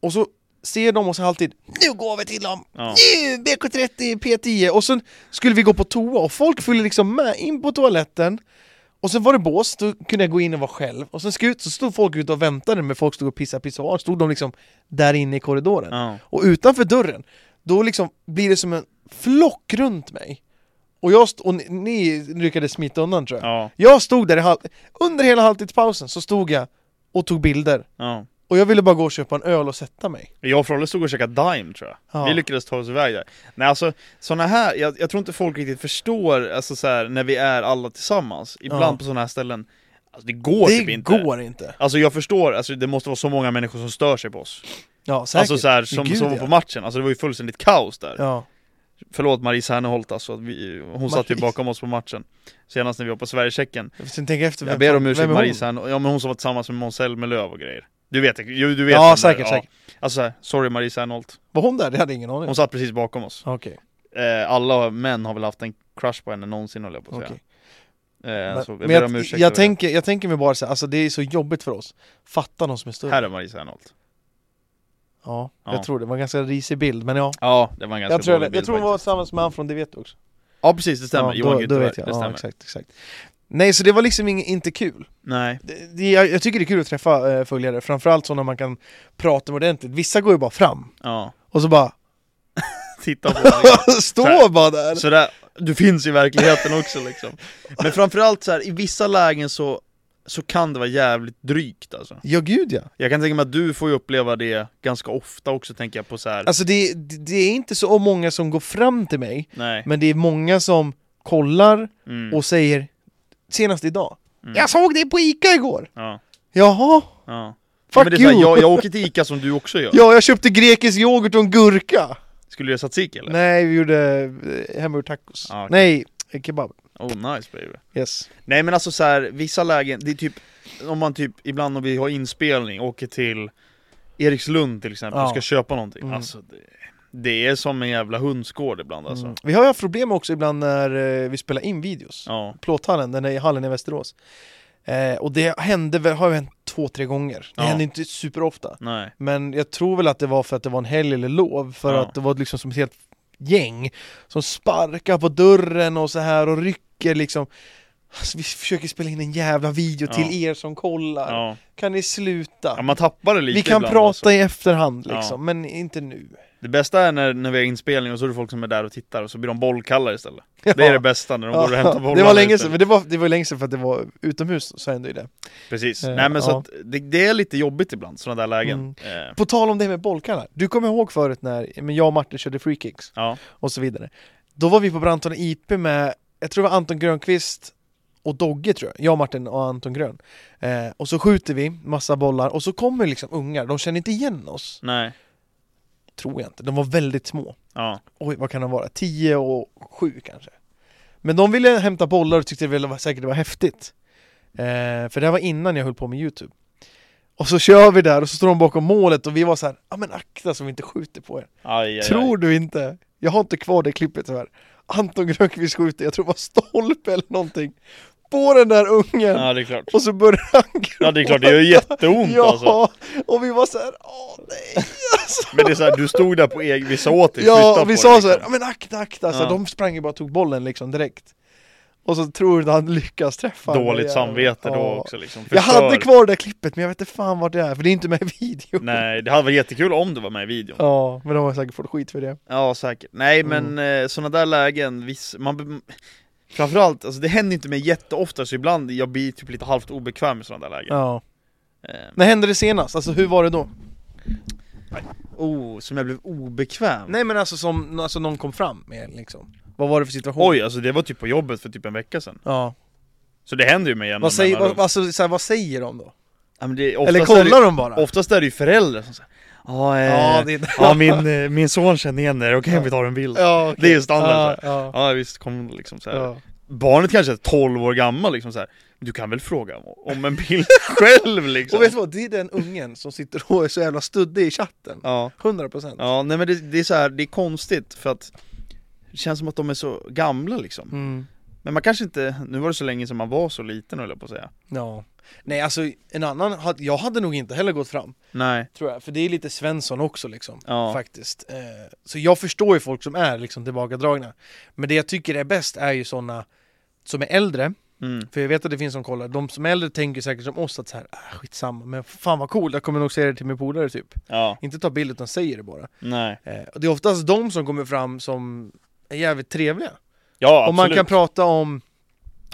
[SPEAKER 1] Och så ser de oss i halvtid Nu går vi till dem!
[SPEAKER 2] Ja.
[SPEAKER 1] Nu! BK30, P10 och sen skulle vi gå på toa och folk följde liksom med in på toaletten och sen var det bås, då kunde jag gå in och vara själv och sen ska jag ut så stod folk ute och väntade men folk stod och pissade pissade var stod de liksom där inne i korridoren
[SPEAKER 2] Ja.
[SPEAKER 1] och utanför dörren då liksom blir det som en flock runt mig och jag st- och ni, ni lyckades smita undan tror jag
[SPEAKER 2] Ja,
[SPEAKER 1] jag stod där i hal- under hela halvtidspausen så stod jag och tog bilder
[SPEAKER 2] ja.
[SPEAKER 1] och jag ville bara gå och köpa en öl och sätta mig.
[SPEAKER 2] Jag och Frolle stod och käkade Dime tror jag.
[SPEAKER 1] Ja.
[SPEAKER 2] Vi lyckades ta oss iväg där. Nej alltså, såna här, jag, jag tror inte folk riktigt förstår, alltså så här, när vi är alla tillsammans, ibland
[SPEAKER 1] Ja.
[SPEAKER 2] på såna här ställen, alltså, det går
[SPEAKER 1] det
[SPEAKER 2] typ inte.
[SPEAKER 1] går inte.
[SPEAKER 2] Alltså jag förstår, alltså, det måste vara så många människor som stör sig på oss.
[SPEAKER 1] Ja, säkert.
[SPEAKER 2] Alltså så här, som,
[SPEAKER 1] Gud,
[SPEAKER 2] som var
[SPEAKER 1] ja.
[SPEAKER 2] på matchen, alltså det var ju fullständigt kaos där.
[SPEAKER 1] Ja.
[SPEAKER 2] Förlåt Marie Serneholt alltså, att vi, hon satt ju
[SPEAKER 1] Marie.
[SPEAKER 2] bakom oss på matchen Senast när vi var på Sverige-Tjeckien
[SPEAKER 1] Sen tänker jag efter,
[SPEAKER 2] Jag ber om ursäkt
[SPEAKER 1] är
[SPEAKER 2] Marie
[SPEAKER 1] hon?
[SPEAKER 2] Serneholt, ja men hon som var tillsammans med Måns Zelmerlöw och grejer Du vet, du, du vet
[SPEAKER 1] Ja,
[SPEAKER 2] vem det är,
[SPEAKER 1] säkert, säkert.
[SPEAKER 2] Alltså så här, sorry Marie Serneholt
[SPEAKER 1] Var hon där? Det hade jag ingen aning om.
[SPEAKER 2] Hon satt precis bakom oss
[SPEAKER 1] Okej,
[SPEAKER 2] eh, Alla män har väl haft en crush på henne någonsin håller jag på att säga
[SPEAKER 1] okej.
[SPEAKER 2] eh,
[SPEAKER 1] Men-
[SPEAKER 2] så jag
[SPEAKER 1] Men
[SPEAKER 2] ber om
[SPEAKER 1] jag,
[SPEAKER 2] ursäkt
[SPEAKER 1] jag,
[SPEAKER 2] över det.
[SPEAKER 1] tänker, jag tänker mig bara så här, alltså det är så jobbigt för oss. Fatta någon som är större.
[SPEAKER 2] Här är Marie Serneholt
[SPEAKER 1] Ja,
[SPEAKER 2] Ja.
[SPEAKER 1] jag tror det. var en ganska risig bild, men ja.
[SPEAKER 2] Ja, det var en ganska
[SPEAKER 1] Jag tror,
[SPEAKER 2] dålig
[SPEAKER 1] jag,
[SPEAKER 2] bild
[SPEAKER 1] jag tror hon var
[SPEAKER 2] faktiskt.
[SPEAKER 1] tillsammans med han från Det vet du också.
[SPEAKER 2] Ja precis, det stämmer,
[SPEAKER 1] ja,
[SPEAKER 2] Johan
[SPEAKER 1] då, då
[SPEAKER 2] Gytterberg,
[SPEAKER 1] vet
[SPEAKER 2] det
[SPEAKER 1] jag.
[SPEAKER 2] stämmer
[SPEAKER 1] Ja, exakt, exakt. Nej, så det var liksom ing- inte kul.
[SPEAKER 2] Nej,
[SPEAKER 1] det, det- jag, jag tycker det är kul att träffa eh, följare, framförallt sådana man kan prata med ordentligt. Vissa går ju bara fram
[SPEAKER 2] ja
[SPEAKER 1] och så bara
[SPEAKER 2] Titta på mig Så
[SPEAKER 1] står
[SPEAKER 2] här.
[SPEAKER 1] bara där.
[SPEAKER 2] Så där, du finns i verkligheten också liksom. Men framförallt så här, i vissa lägen så, så kan det vara jävligt drygt alltså.
[SPEAKER 1] Ja, gud ja.
[SPEAKER 2] Jag kan tänka mig att du får ju uppleva det ganska ofta också tänker jag på så här.
[SPEAKER 1] Alltså det, det det är inte så många som går fram till mig,
[SPEAKER 2] nej.
[SPEAKER 1] men det är många som kollar
[SPEAKER 2] Mm,
[SPEAKER 1] och säger senast idag.
[SPEAKER 2] mm,
[SPEAKER 1] Jag såg dig på Ica igår!
[SPEAKER 2] ja,
[SPEAKER 1] Jaha,
[SPEAKER 2] ja. Ja,
[SPEAKER 1] fuck
[SPEAKER 2] men det är så
[SPEAKER 1] you!
[SPEAKER 2] här, jag, jag åker till Ica som du också gör.
[SPEAKER 1] Ja, jag köpte grekisk yoghurt och en gurka!
[SPEAKER 2] Skulle du göra tzatziki eller?
[SPEAKER 1] Nej, vi gjorde eh, hemgjord tacos.
[SPEAKER 2] Ah, okej.
[SPEAKER 1] Nej, eh, kebab.
[SPEAKER 2] Oh nice baby.
[SPEAKER 1] Yes.
[SPEAKER 2] Nej men alltså så här, vissa lägen, det är typ om man typ ibland om vi har inspelning åker till Erikslund till exempel
[SPEAKER 1] Ja.
[SPEAKER 2] och ska köpa någonting.
[SPEAKER 1] Mm.
[SPEAKER 2] Alltså det, det är som en jävla hönsgård ibland alltså.
[SPEAKER 1] Mm. Vi har ju haft problem också ibland när eh, vi spelar in videos.
[SPEAKER 2] Ja.
[SPEAKER 1] plåthallen, den är i hallen i Västerås. Eh, och det hände, väl- har ju hänt två, tre gånger. Det
[SPEAKER 2] Ja.
[SPEAKER 1] händer inte superofta.
[SPEAKER 2] Nej.
[SPEAKER 1] Men jag tror väl att det var för att det var en helg eller lov, för
[SPEAKER 2] Ja.
[SPEAKER 1] att det var liksom som ett helt gäng som sparkar på dörren och så här och rycker liksom. Alltså, vi försöker spela in en jävla video
[SPEAKER 2] Ja.
[SPEAKER 1] till er som kollar.
[SPEAKER 2] Ja.
[SPEAKER 1] Kan ni sluta?
[SPEAKER 2] ja, man tappar det lite
[SPEAKER 1] vi kan
[SPEAKER 2] ibland,
[SPEAKER 1] prata
[SPEAKER 2] alltså.
[SPEAKER 1] i efterhand
[SPEAKER 2] Ja.
[SPEAKER 1] liksom, men inte nu.
[SPEAKER 2] Det bästa är när, när vi har inspelning och så är det folk som är där och tittar och så blir de bollkalla istället. Det är det bästa när de går och hämtar bollar.
[SPEAKER 1] det var länge sedan,
[SPEAKER 2] istället.
[SPEAKER 1] men det var, det var länge sedan för att det var utomhus så hände ju det.
[SPEAKER 2] Precis.
[SPEAKER 1] Eh,
[SPEAKER 2] Nej men
[SPEAKER 1] ja. Mm.
[SPEAKER 2] så att det, det är lite jobbigt ibland, sådana där lägen. Eh,
[SPEAKER 1] På tal om det med bollkallar, du kommer ihåg förut när men jag och Martin körde freekicks
[SPEAKER 2] ja.
[SPEAKER 1] och så vidare. Då var vi på Brantona IP med, jag tror det var Anton Grönqvist och Dogge tror jag, jag, Martin och Anton Grön. Eh, och så skjuter vi massa bollar och så kommer liksom ungar, de känner inte igen oss,
[SPEAKER 2] Nej.
[SPEAKER 1] tror jag inte. De var väldigt små.
[SPEAKER 2] Ja.
[SPEAKER 1] Oj, vad kan de vara? 10 och 7 kanske. Men de ville hämta bollar och tyckte väl säkert det var häftigt. Eh, för det här var innan jag höll på med YouTube. Och så kör vi där och så står de bakom målet och vi var så här, ja men akta så vi inte skjuter på er.
[SPEAKER 2] Aj, aj,
[SPEAKER 1] Tror du inte? Jag har inte kvar det klippet tyvärr. Anton Grönqvist skjuter, jag tror det var stolpe eller någonting. På den där ungen!
[SPEAKER 2] aj. Ja det är klart.
[SPEAKER 1] Och så börjar han gråta.
[SPEAKER 2] Ja det är klart, det gör jätteont
[SPEAKER 1] Ja,
[SPEAKER 2] alltså.
[SPEAKER 1] och vi var så här, åh nej! Alltså.
[SPEAKER 2] Men det är så här, du stod där på egen, vi sa åt dig flytta
[SPEAKER 1] Ja, och
[SPEAKER 2] på
[SPEAKER 1] vi
[SPEAKER 2] dig,
[SPEAKER 1] sa så här, ja
[SPEAKER 2] liksom.
[SPEAKER 1] men akta, akta, så
[SPEAKER 2] Ja.
[SPEAKER 1] de sprang ju bara och tog bollen liksom direkt. Och så tror du inte han lyckas träffa den där
[SPEAKER 2] Dåligt
[SPEAKER 1] jäveln.
[SPEAKER 2] samvete då
[SPEAKER 1] Ja.
[SPEAKER 2] också liksom.
[SPEAKER 1] Jag hade
[SPEAKER 2] Förstör.
[SPEAKER 1] kvar det klippet men jag vet inte fan vart det är, för det är inte med i videon.
[SPEAKER 2] Nej, det hade varit jättekul om du var med i videon.
[SPEAKER 1] Ja, men de har säkert fått skit för det.
[SPEAKER 2] Ja säkert, nej
[SPEAKER 1] Mm.
[SPEAKER 2] men eh, sådana där lägen, viss, man be- Framförallt, alltså det händer inte mig jätteofta så ibland jag blir typ lite halvt obekväm i sådana där lägen
[SPEAKER 1] Ja.
[SPEAKER 2] eh,
[SPEAKER 1] När hände det senast? Alltså hur var det då?
[SPEAKER 2] Oh, som jag blev obekväm?
[SPEAKER 1] Nej men alltså som alltså, någon kom fram med liksom. Vad var det för situation?
[SPEAKER 2] Oj, alltså det var typ på jobbet för typ en vecka sedan
[SPEAKER 1] Ja.
[SPEAKER 2] Så det händer ju mig igen
[SPEAKER 1] Vad säger, vad, alltså, så här, vad säger de då?
[SPEAKER 2] ja, men det, är-
[SPEAKER 1] Eller
[SPEAKER 2] oftast är
[SPEAKER 1] kollar de bara?
[SPEAKER 2] det, Oftast är det ju föräldrar som säger Ja, eh,
[SPEAKER 1] Ja,
[SPEAKER 2] ja,
[SPEAKER 1] det är
[SPEAKER 2] min, eh, min son känner igen er, okej vi tar en bild ja,
[SPEAKER 1] ja, okej.
[SPEAKER 2] Det är ju standard
[SPEAKER 1] ja,
[SPEAKER 2] så
[SPEAKER 1] ja,
[SPEAKER 2] visst, kom liksom så här.
[SPEAKER 1] ja.
[SPEAKER 2] Barnet kanske är 12 år gammal liksom så här. Du kan väl fråga om- om en bild själv liksom
[SPEAKER 1] Och vet du vad? Det är den ungen som sitter och är så jävla studdig i chatten.
[SPEAKER 2] Ja,
[SPEAKER 1] 100% procent.
[SPEAKER 2] ja nej men det, det är så här, det är konstigt för att det känns som att de är så gamla liksom.
[SPEAKER 1] Mm.
[SPEAKER 2] Men man kanske inte, nu var det så länge som man var så liten höll jag på att säga.
[SPEAKER 1] Ja. Nej alltså en annan, hade- jag hade nog inte heller gått fram.
[SPEAKER 2] Nej.
[SPEAKER 1] Tror jag, för det är lite Svensson också liksom.
[SPEAKER 2] Ja.
[SPEAKER 1] Faktiskt. Eh, Så jag förstår ju folk som är liksom tillbakadragna. Men det jag tycker är bäst är ju sådana som är äldre,
[SPEAKER 2] Mm.
[SPEAKER 1] för jag vet att det finns som kollar, de som är äldre tänker säkert som oss att så här, ah, skitsamma, men fan vad coolt, jag kommer nog säga det till min polare typ.
[SPEAKER 2] Ja.
[SPEAKER 1] Inte ta bild utan säger det bara.
[SPEAKER 2] Nej.
[SPEAKER 1] Eh, och det är oftast de som kommer fram som är jävligt trevliga.
[SPEAKER 2] Ja,
[SPEAKER 1] Och man
[SPEAKER 2] absolut.
[SPEAKER 1] kan prata om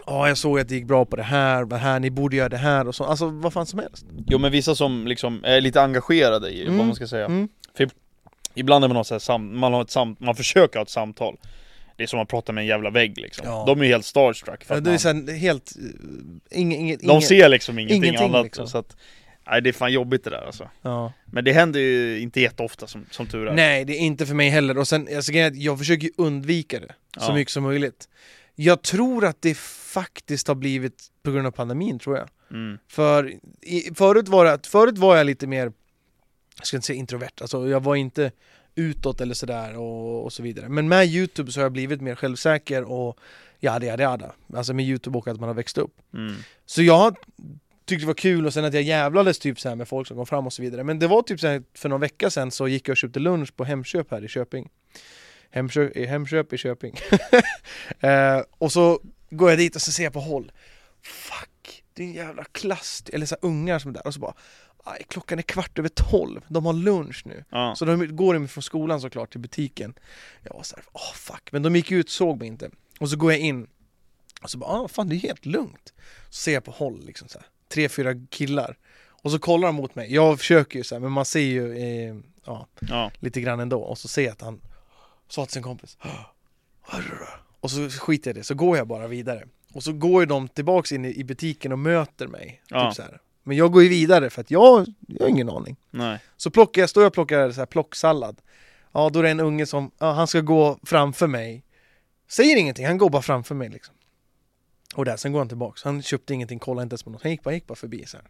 [SPEAKER 1] Ja, jag såg att det gick bra på det här, det här, ni borde göra det här och så. Alltså vad fan som helst.
[SPEAKER 2] Jo men vissa som liksom är lite engagerade i
[SPEAKER 1] Mm.
[SPEAKER 2] vad man ska säga.
[SPEAKER 1] Mm.
[SPEAKER 2] Ibland är man har så här sam- man, har ett sam- man försöker ha ett samtal. Det är som att prata med en jävla vägg liksom.
[SPEAKER 1] Ja.
[SPEAKER 2] De är ju helt starstruck för
[SPEAKER 1] Ja,
[SPEAKER 2] att
[SPEAKER 1] Det är
[SPEAKER 2] man,
[SPEAKER 1] så här, helt, eh, inge, inget,
[SPEAKER 2] de ser liksom ingenting,
[SPEAKER 1] ingenting,
[SPEAKER 2] annat.
[SPEAKER 1] liksom.
[SPEAKER 2] Så att, nej det är fan jobbigt det där alltså.
[SPEAKER 1] Ja.
[SPEAKER 2] Men det händer ju inte jätteofta som, som tur är.
[SPEAKER 1] Nej, det är inte för mig heller. Och sen, alltså, grejen är att jag försöker ju undvika det så
[SPEAKER 2] Ja.
[SPEAKER 1] mycket som möjligt. Jag tror att det faktiskt har blivit på grund av pandemin, tror jag.
[SPEAKER 2] Mm.
[SPEAKER 1] För i, förut, var det, att- förut var jag lite mer, jag ska inte säga introvert, alltså jag var inte utåt eller sådär och, och så vidare. Men med YouTube så har jag blivit mer självsäker och jada jada jada. Alltså med YouTube och att man har växt upp.
[SPEAKER 2] Mm.
[SPEAKER 1] Så jag tyckte det var kul och sen att jag jävlades typ så här med folk som kom fram och så vidare. Men det var typ så här för någon vecka sedan så gick jag och köpte lunch på Hemköp här i Köping. Hemköp, i Hemköp i Köping. eh, och så går jag dit och så ser jag på håll. Fuck, det är en jävla klass, eller så här ungar som är där och så bara Aj, klockan är kvart över tolv, de har lunch nu.
[SPEAKER 2] Ja.
[SPEAKER 1] Så de går in från skolan såklart till butiken. Jag var såhär, åh fuck, men de gick ut, såg mig inte. Och så går jag in och så bara, ah, fan det är helt lugnt. Så ser jag på håll liksom så här, tre, fyra killar. Och så kollar de mot mig, jag försöker ju så här, men man ser ju eh, ja,
[SPEAKER 2] Ja.
[SPEAKER 1] lite grann ändå. Och så ser jag att han sa till sin kompis, "Hå, hörru du?" och så skiter jag i det, så går jag bara vidare. Och så går ju de tillbaks in i i butiken och möter mig.
[SPEAKER 2] Ja.
[SPEAKER 1] Typ så här. Men jag går ju vidare för att jag, jag har ingen aning.
[SPEAKER 2] Nej.
[SPEAKER 1] Så plockar jag, står jag och plockar så här plocksallad. Ja, då är det en unge som, ja, han ska gå framför mig. Säger ingenting, han går bara framför mig liksom. Och där, sen går han tillbaks. Han köpte ingenting, kollade inte ens på något. Han gick bara, gick bara förbi så här.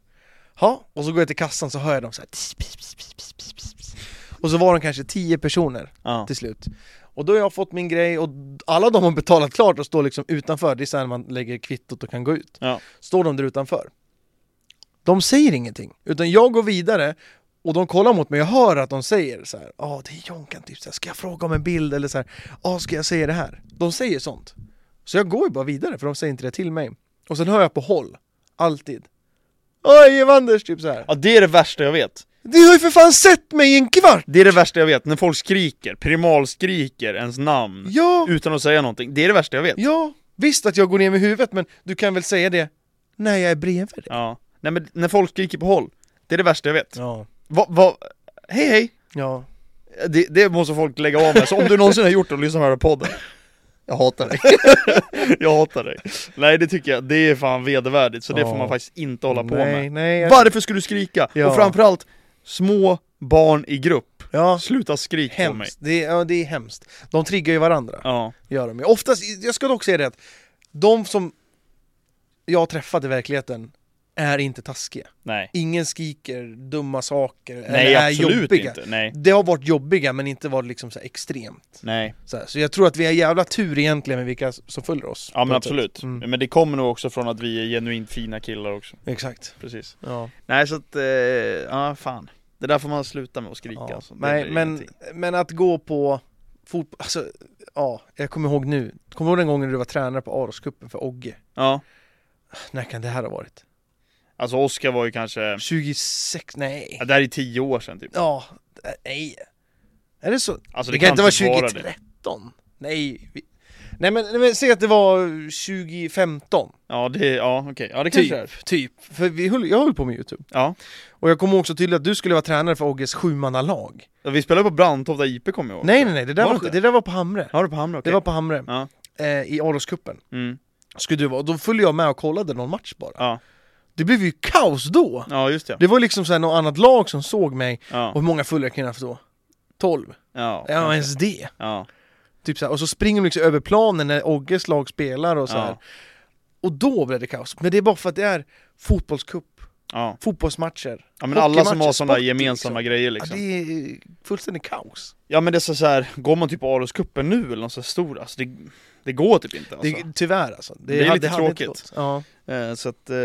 [SPEAKER 1] Ja, och så går jag till kassan så hör jag dem så här. "Tss, pss, pss, pss, pss, pss, pss, pss." Och så var de kanske tio personer
[SPEAKER 2] Ja.
[SPEAKER 1] till slut. Och då har jag fått min grej och alla de har betalat klart och står liksom utanför. Det är så här man lägger kvittot och kan gå ut
[SPEAKER 2] Ja.
[SPEAKER 1] står de där utanför. De säger ingenting, utan jag går vidare och de kollar mot mig, jag hör att de säger så här, ja det är Jonkan typ, så här, ska jag fråga om en bild eller så här, ja ska jag säga det här? De säger sånt. Så jag går ju bara vidare för de säger inte det till mig. Och sen hör jag på håll, alltid. Oj Evanders, typ så här.
[SPEAKER 2] Ja det är det värsta jag vet
[SPEAKER 1] Du har ju för fan sett mig i en kvart!
[SPEAKER 2] Det är det värsta jag vet, när folk skriker, primalskriker ens namn
[SPEAKER 1] Ja,
[SPEAKER 2] Utan att säga någonting, det är det värsta jag vet
[SPEAKER 1] ja, visst att jag går ner med huvudet men du kan väl säga det när jag är bredvid dig?
[SPEAKER 2] Ja, nej men när folk skriker på håll Det är det värsta jag vet
[SPEAKER 1] Ja.
[SPEAKER 2] Va, va, hej hej!
[SPEAKER 1] Ja.
[SPEAKER 2] Det, det måste folk lägga av med, så om du någonsin har gjort det och lyssnar på den här podden Jag hatar dig Jag hatar dig Nej det tycker jag, det är fan vedervärdigt, så det
[SPEAKER 1] Ja.
[SPEAKER 2] får man faktiskt inte hålla på
[SPEAKER 1] nej,
[SPEAKER 2] med
[SPEAKER 1] nej. jag-
[SPEAKER 2] Varför skulle du skrika?
[SPEAKER 1] Ja.
[SPEAKER 2] Och framförallt, små barn i grupp
[SPEAKER 1] Ja.
[SPEAKER 2] Sluta skrik på mig
[SPEAKER 1] Hemskt. Det är, ja, det är hemskt. De triggar ju varandra.
[SPEAKER 2] Ja,
[SPEAKER 1] Gör de. ju. Oftast, jag ska dock säga det att de som jag har träffat i verkligheten är inte taskiga.
[SPEAKER 2] nej
[SPEAKER 1] Ingen skriker dumma saker
[SPEAKER 2] Nej
[SPEAKER 1] eller är
[SPEAKER 2] absolut
[SPEAKER 1] jobbiga.
[SPEAKER 2] inte, nej,
[SPEAKER 1] Det har varit jobbiga men inte varit liksom så här extremt.
[SPEAKER 2] nej
[SPEAKER 1] Så, här. så jag tror att vi har jävla tur egentligen med vilka som följer oss.
[SPEAKER 2] Ja men
[SPEAKER 1] På ett sätt.
[SPEAKER 2] absolut,
[SPEAKER 1] Mm.
[SPEAKER 2] men det kommer nog också från att vi är genuint fina killar också
[SPEAKER 1] Exakt.
[SPEAKER 2] Precis
[SPEAKER 1] Ja.
[SPEAKER 2] Nej så att, eh, ja fan Det där får man sluta med att skrika
[SPEAKER 1] Ja.
[SPEAKER 2] alltså. Det
[SPEAKER 1] Nej,
[SPEAKER 2] blir
[SPEAKER 1] men,
[SPEAKER 2] ingenting.
[SPEAKER 1] men att gå på fotboll, alltså, ja, jag kommer ihåg nu, kommer du ihåg den gången du var tränare på Aroscupen för Ogge?
[SPEAKER 2] Ja,
[SPEAKER 1] När kan det här ha varit?
[SPEAKER 2] alltså Oscar var ju kanske,
[SPEAKER 1] 26, nej.
[SPEAKER 2] ja, det här är tio år sedan typ
[SPEAKER 1] Ja, nej. Är det så?
[SPEAKER 2] Alltså
[SPEAKER 1] det, kan inte vara
[SPEAKER 2] det.
[SPEAKER 1] 2013? Nej. Vi... Nej, men, nej men säg att det var 2015.
[SPEAKER 2] Ja det, ja okej, ja det kanske är
[SPEAKER 1] Typ, typ. För vi höll, jag höll på med Youtube.
[SPEAKER 2] Ja,
[SPEAKER 1] Och jag kommer också tydligt att du skulle vara tränare för Ogges sjumannalag.
[SPEAKER 2] Ja, vi spelade på Brandtofta IP kommer jag ihåg
[SPEAKER 1] Nej nej nej, det där
[SPEAKER 2] Var
[SPEAKER 1] var,
[SPEAKER 2] det inte?
[SPEAKER 1] det där var på Hamre.
[SPEAKER 2] Har du på Hamra?
[SPEAKER 1] Det
[SPEAKER 2] Okej
[SPEAKER 1] var på Hamre.
[SPEAKER 2] Ja.
[SPEAKER 1] Eh, I Aroscupen.
[SPEAKER 2] mm.
[SPEAKER 1] skulle du vara. Och då följde jag med och kollade någon match bara.
[SPEAKER 2] Ja.
[SPEAKER 1] Det blev ju kaos då!
[SPEAKER 2] ja just det,
[SPEAKER 1] Det var liksom såhär något annat lag som såg mig, och
[SPEAKER 2] ja,
[SPEAKER 1] hur många följare kan jag få då? 12?
[SPEAKER 2] ja,
[SPEAKER 1] Ja,
[SPEAKER 2] ja,
[SPEAKER 1] ens det!
[SPEAKER 2] ja.
[SPEAKER 1] Typ så här. Och så springer de liksom över planen när Ogges lag spelar och så här. Och då blev det kaos. Men det är bara för att det är fotbollscup,
[SPEAKER 2] ja.
[SPEAKER 1] fotbollsmatcher.
[SPEAKER 2] ja men alla som har
[SPEAKER 1] Hockeymatcher,
[SPEAKER 2] sådana
[SPEAKER 1] sport,
[SPEAKER 2] gemensamma
[SPEAKER 1] liksom.
[SPEAKER 2] grejer
[SPEAKER 1] Ja,
[SPEAKER 2] liksom
[SPEAKER 1] det är fullständigt kaos.
[SPEAKER 2] Ja men det är så, så här, går man typ på Aroscupen nu eller någon så här stor, alltså det, det går typ inte alltså.
[SPEAKER 1] Det, tyvärr alltså. Det,
[SPEAKER 2] Det är
[SPEAKER 1] hade-
[SPEAKER 2] lite
[SPEAKER 1] hade inte
[SPEAKER 2] tråkigt.
[SPEAKER 1] gått. Ja.
[SPEAKER 2] Eh, Så att, eh,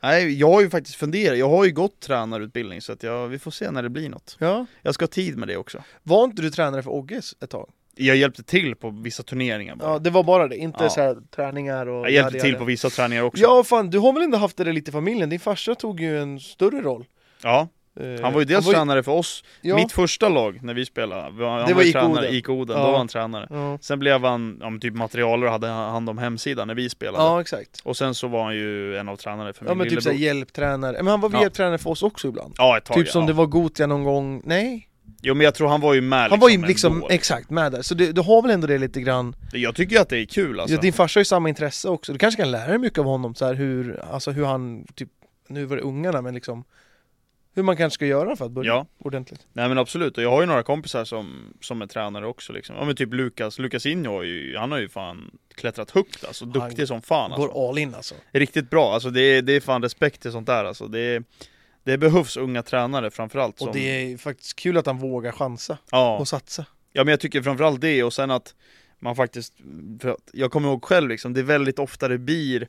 [SPEAKER 2] nej jag har ju faktiskt funderat, jag har ju gått tränarutbildning så att jag, vi får se när det blir något
[SPEAKER 1] ja.
[SPEAKER 2] Jag ska ha tid med det också
[SPEAKER 1] Var inte du tränare för Ogges ett tag?
[SPEAKER 2] Jag hjälpte till på vissa turneringar bara.
[SPEAKER 1] Ja, det var bara det. Inte
[SPEAKER 2] Ja.
[SPEAKER 1] så här träningar och...
[SPEAKER 2] Jag hjälpte
[SPEAKER 1] jada,
[SPEAKER 2] till
[SPEAKER 1] jada.
[SPEAKER 2] på vissa träningar också
[SPEAKER 1] Ja, fan, du har väl ändå haft det där lite i familjen? Din farsa tog ju en större roll.
[SPEAKER 2] Ja,
[SPEAKER 1] Eh,
[SPEAKER 2] han var ju dels tränare för oss,
[SPEAKER 1] ja,
[SPEAKER 2] mitt första lag när vi spelade var- Han
[SPEAKER 1] Det var
[SPEAKER 2] ju
[SPEAKER 1] IK
[SPEAKER 2] tränare
[SPEAKER 1] Oden.
[SPEAKER 2] i IK Oden,
[SPEAKER 1] Ja.
[SPEAKER 2] då var han tränare
[SPEAKER 1] Ja.
[SPEAKER 2] Sen blev han, ja, men typ materialer och hade hand om hemsidan när vi spelade
[SPEAKER 1] ja, exakt.
[SPEAKER 2] Och sen så var han ju en av tränarna för min
[SPEAKER 1] Ja men typ
[SPEAKER 2] lillebror
[SPEAKER 1] såhär hjälptränare, men han var väl
[SPEAKER 2] Ja.
[SPEAKER 1] hjälptränare för oss också ibland?
[SPEAKER 2] Ja ett tag
[SPEAKER 1] typ
[SPEAKER 2] ja.
[SPEAKER 1] som det var Gothia någon gång, nej?
[SPEAKER 2] Jo men jag tror han var ju med
[SPEAKER 1] Han var ju
[SPEAKER 2] ändå.
[SPEAKER 1] liksom exakt med där, så du, du har väl ändå det lite grann?
[SPEAKER 2] Jag tycker ju att det är kul alltså.
[SPEAKER 1] Ja, din farsa har ju samma intresse också, du kanske kan lära dig mycket av honom så här hur, alltså hur han, typ, nu var det ungarna men liksom Hur man kanske ska göra för att börja
[SPEAKER 2] Ja,
[SPEAKER 1] ordentligt
[SPEAKER 2] nej men absolut. Och jag har ju några kompisar som, som är tränare också liksom. Ja men typ Lukas, Lukas Inho har ju, han har ju fan klättrat högt alltså. Duktig som fan alltså.
[SPEAKER 1] Går all in alltså
[SPEAKER 2] Riktigt bra, alltså det är, det är fan respekt till sånt där alltså. Det, det behövs unga tränare framförallt som,
[SPEAKER 1] Och det är faktiskt kul att han vågar chansa
[SPEAKER 2] ja.
[SPEAKER 1] och satsa
[SPEAKER 2] ja men jag tycker framförallt det och sen att man faktiskt, för att jag kommer ihåg själv liksom, det är väldigt ofta det blir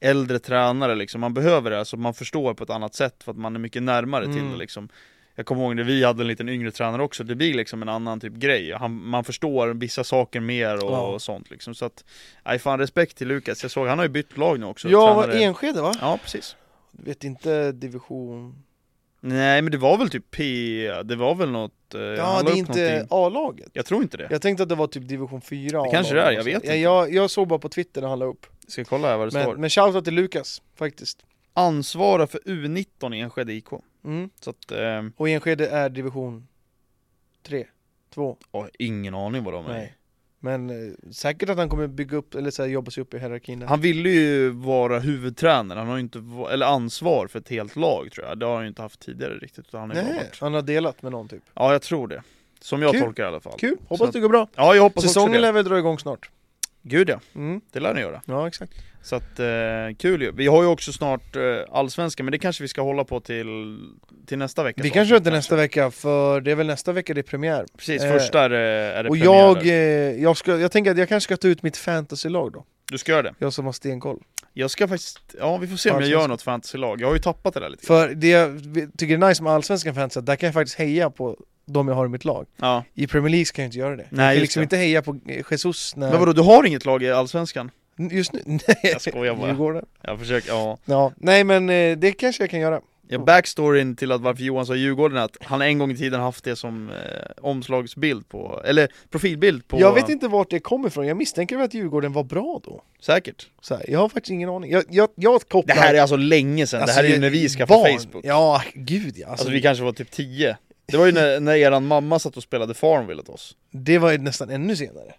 [SPEAKER 2] äldre tränare liksom, man behöver det, alltså man förstår på ett annat sätt för att man är mycket närmare till
[SPEAKER 1] Mm.
[SPEAKER 2] det liksom Jag kommer ihåg när vi hade en liten yngre tränare också, det blir liksom en annan typ grej Han, Man förstår vissa saker mer och,
[SPEAKER 1] Ja.
[SPEAKER 2] och sånt liksom så att Nej fan respekt till Lukas, jag såg han har ju bytt lag nu också
[SPEAKER 1] Ja,
[SPEAKER 2] tränare-
[SPEAKER 1] Enskede va?
[SPEAKER 2] Ja precis
[SPEAKER 1] Vet inte division...
[SPEAKER 2] Nej men det var väl typ P, det var väl något, eh,
[SPEAKER 1] Ja,
[SPEAKER 2] han la
[SPEAKER 1] det är
[SPEAKER 2] upp
[SPEAKER 1] inte
[SPEAKER 2] någonting.
[SPEAKER 1] A-laget.
[SPEAKER 2] Jag tror inte det,
[SPEAKER 1] Jag tänkte att det var typ division 4
[SPEAKER 2] Det kanske det är, jag vet
[SPEAKER 1] inte.
[SPEAKER 2] inte.
[SPEAKER 1] Jag, jag såg bara på Twitter när han la upp.
[SPEAKER 2] jag ska kolla här vad det står
[SPEAKER 1] Men, men shoutout till Lukas, faktiskt.
[SPEAKER 2] Ansvara för U19 i Enskede IK
[SPEAKER 1] Mm.
[SPEAKER 2] Så att, eh,
[SPEAKER 1] Och Enskede är division 3, 2.
[SPEAKER 2] åh, ingen aning vad de är
[SPEAKER 1] Nej. Men eh, säkert att han kommer bygga upp, eller så här, jobba sig upp i hierarkin. där.
[SPEAKER 2] Han ville ju vara huvudtränare, han har ju inte, va- eller ansvar för ett helt lag tror jag Det har han ju inte haft tidigare riktigt, utan han har ju bara
[SPEAKER 1] Nej,
[SPEAKER 2] varit
[SPEAKER 1] han har delat med någon typ.
[SPEAKER 2] Ja jag tror det, som jag
[SPEAKER 1] Kul.
[SPEAKER 2] tolkar i alla fall
[SPEAKER 1] Kul, hoppas
[SPEAKER 2] Så att-
[SPEAKER 1] det går bra.
[SPEAKER 2] Ja jag hoppas också
[SPEAKER 1] Säsongen
[SPEAKER 2] det
[SPEAKER 1] lär väl dra igång snart.
[SPEAKER 2] Gud ja,
[SPEAKER 1] Mm.
[SPEAKER 2] det lär ni göra
[SPEAKER 1] Ja, exakt.
[SPEAKER 2] Så att, eh, kul ju. Vi har ju också snart eh, Allsvenskan, men det kanske vi ska hålla på till, till nästa vecka
[SPEAKER 1] Vi
[SPEAKER 2] så.
[SPEAKER 1] kan köra det nästa vecka, för det är väl nästa vecka det är premiär.
[SPEAKER 2] Precis,
[SPEAKER 1] Eh,
[SPEAKER 2] första är, det- är det
[SPEAKER 1] Och
[SPEAKER 2] premiär
[SPEAKER 1] jag,
[SPEAKER 2] där.
[SPEAKER 1] eh, jag, ska, jag tänker att jag kanske ska ta ut mitt fantasylag då.
[SPEAKER 2] Du ska göra det.
[SPEAKER 1] Jag som har stenkoll.
[SPEAKER 2] Jag ska faktiskt, ja vi får se om jag gör något fantasylag. Jag har ju tappat det där lite grann.
[SPEAKER 1] För det jag tycker är nice med allsvenskan fantasy, är att där kan jag faktiskt heja på de jag har i mitt lag.
[SPEAKER 2] Ja.
[SPEAKER 1] I Premier League kan jag inte göra det.
[SPEAKER 2] Nej,
[SPEAKER 1] jag kan
[SPEAKER 2] just
[SPEAKER 1] liksom
[SPEAKER 2] det.
[SPEAKER 1] inte heja på eh, Jesus när...
[SPEAKER 2] Men vadå, du har inget lag i Allsvenskan?
[SPEAKER 1] Just nu? Nej.
[SPEAKER 2] Jag skojar bara.
[SPEAKER 1] Djurgården.
[SPEAKER 2] Jag försöker, ja.
[SPEAKER 1] Ja, nej men eh, det kanske jag kan göra.
[SPEAKER 2] ja backstoryn till att varför Johan sa Djurgården är att han en gång i tiden haft det som eh, omslagsbild på, eller profilbild på...
[SPEAKER 1] Jag vet inte vart det kommer ifrån, jag misstänker väl att Djurgården var bra då.
[SPEAKER 2] Säkert.
[SPEAKER 1] Så här, jag har faktiskt ingen aning. Jag, jag, jag
[SPEAKER 2] Det
[SPEAKER 1] kopplar...
[SPEAKER 2] här är alltså länge sedan,
[SPEAKER 1] Alltså,
[SPEAKER 2] det här är ju
[SPEAKER 1] jag-
[SPEAKER 2] när vi skaffade
[SPEAKER 1] barn.
[SPEAKER 2] Facebook.
[SPEAKER 1] Ja, gud ja. Alltså,
[SPEAKER 2] Alltså vi kanske var typ 10. Det var ju när, när eran mamma satt och spelade Farmville åt oss.
[SPEAKER 1] Det var ju nästan ännu senare.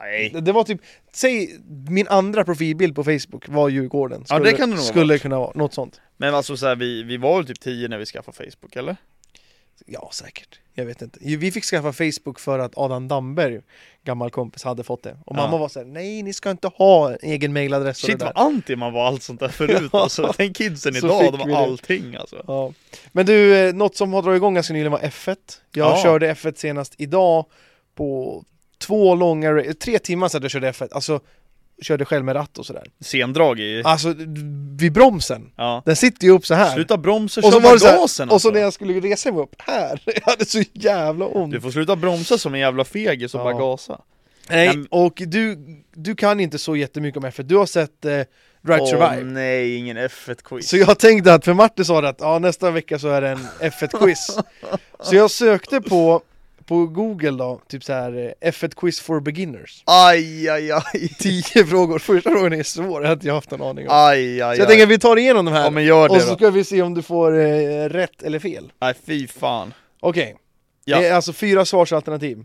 [SPEAKER 2] Nej.
[SPEAKER 1] Det, det var typ, säg min andra profilbild på Facebook var Djurgården.
[SPEAKER 2] Ja, det kan det nog ha
[SPEAKER 1] Skulle kunna vara, något sånt.
[SPEAKER 2] Men alltså så här, vi, vi var väl typ 10 när vi skaffade Facebook eller?
[SPEAKER 1] Ja, säkert. Jag vet inte. Ju, Vi fick skaffa Facebook för att Adam Damberg, gammal kompis, hade fått det. Och
[SPEAKER 2] Ja.
[SPEAKER 1] mamma var så här, nej ni ska inte ha en egen mailadress och
[SPEAKER 2] Shit
[SPEAKER 1] det
[SPEAKER 2] vad
[SPEAKER 1] där.
[SPEAKER 2] anti man var allt sånt där förut alltså. Tänk kidsen
[SPEAKER 1] Så
[SPEAKER 2] idag,
[SPEAKER 1] fick
[SPEAKER 2] de
[SPEAKER 1] vi
[SPEAKER 2] var
[SPEAKER 1] det.
[SPEAKER 2] allting alltså.
[SPEAKER 1] Ja. Men du, eh, något som har dragit igång ganska nyligen var F1. Jag
[SPEAKER 2] Ja.
[SPEAKER 1] körde F1 senast idag på två långa, ra- eh, tre timmar sedan jag körde F1. Alltså, körde själv med ratt och sådär.
[SPEAKER 2] Sendrag i...
[SPEAKER 1] Alltså, vid bromsen.
[SPEAKER 2] Ja.
[SPEAKER 1] Den sitter ju upp så här.
[SPEAKER 2] Sluta bromsa,
[SPEAKER 1] Och så
[SPEAKER 2] kör
[SPEAKER 1] var
[SPEAKER 2] med
[SPEAKER 1] det så här,
[SPEAKER 2] gasen
[SPEAKER 1] Och så
[SPEAKER 2] alltså.
[SPEAKER 1] när jag skulle resa mig upp, här! Jag hade så jävla ont!
[SPEAKER 2] Du får sluta bromsa som en jävla fegis och
[SPEAKER 1] Ja.
[SPEAKER 2] bara gasa.
[SPEAKER 1] Nej,
[SPEAKER 2] Nej.
[SPEAKER 1] och du, du kan inte så jättemycket om F1, du har sett eh, Drive to Survive
[SPEAKER 2] nej, ingen F1-quiz.
[SPEAKER 1] Så jag tänkte att, för Martin sa det att ja, nästa vecka så är det en F1-quiz Så jag sökte på, på google då, typ så här eh, F1-quiz for beginners
[SPEAKER 2] Aj, aj, aj.
[SPEAKER 1] Tio frågor, första frågan är svår, jag har inte haft en aning om
[SPEAKER 2] Aj, aj, aj.
[SPEAKER 1] Så jag tänker att vi tar igenom de här,
[SPEAKER 2] ja men gör
[SPEAKER 1] och
[SPEAKER 2] det
[SPEAKER 1] så
[SPEAKER 2] då.
[SPEAKER 1] ska vi se om du får eh, rätt eller fel
[SPEAKER 2] Nej, fy fan.
[SPEAKER 1] Okej.
[SPEAKER 2] Ja.
[SPEAKER 1] Det är alltså fyra svarsalternativ.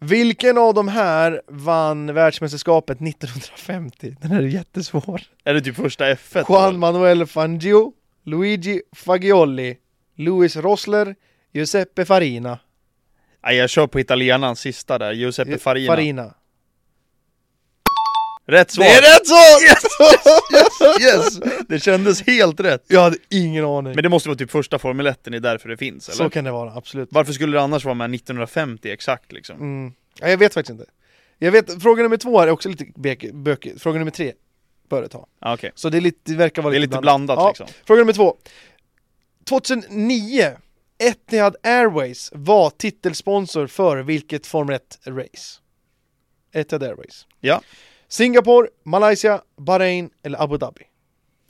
[SPEAKER 1] Vilken av de här vann världsmästerskapet 1950? Den här är jättesvår.
[SPEAKER 2] Är det typ första F1?
[SPEAKER 1] Juan Manuel Fangio, Luigi Fagioli, Luis Rosler, Giuseppe Farina.
[SPEAKER 2] Nej, jag kör på italienaren sista där,
[SPEAKER 1] Eh,
[SPEAKER 2] Giuseppe Eh, Farina.
[SPEAKER 1] Farina.
[SPEAKER 2] Rätt svar!
[SPEAKER 1] Det är rätt svar!
[SPEAKER 2] Yes! Det kändes helt rätt.
[SPEAKER 1] Jag hade ingen aning.
[SPEAKER 2] Men det måste vara typ första Formel 1, det är därför det finns, eller?
[SPEAKER 1] Så kan det vara, absolut.
[SPEAKER 2] Varför skulle det annars vara med 1950 exakt liksom?
[SPEAKER 1] Mm. Ja, jag vet faktiskt inte. Jag vet, fråga nummer två är också lite bek- bökig. Fråga nummer tre bör det ta.
[SPEAKER 2] Ja, Ah, Okej,
[SPEAKER 1] Så det, är lite, det verkar vara
[SPEAKER 2] det är lite blandat
[SPEAKER 1] Ja,
[SPEAKER 2] liksom.
[SPEAKER 1] Fråga nummer två. 2009, Etihad Airways var titelsponsor för vilket Formel 1-race? Etihad Airways.
[SPEAKER 2] Ja.
[SPEAKER 1] Singapore, Malaysia, Bahrain eller Abu Dhabi?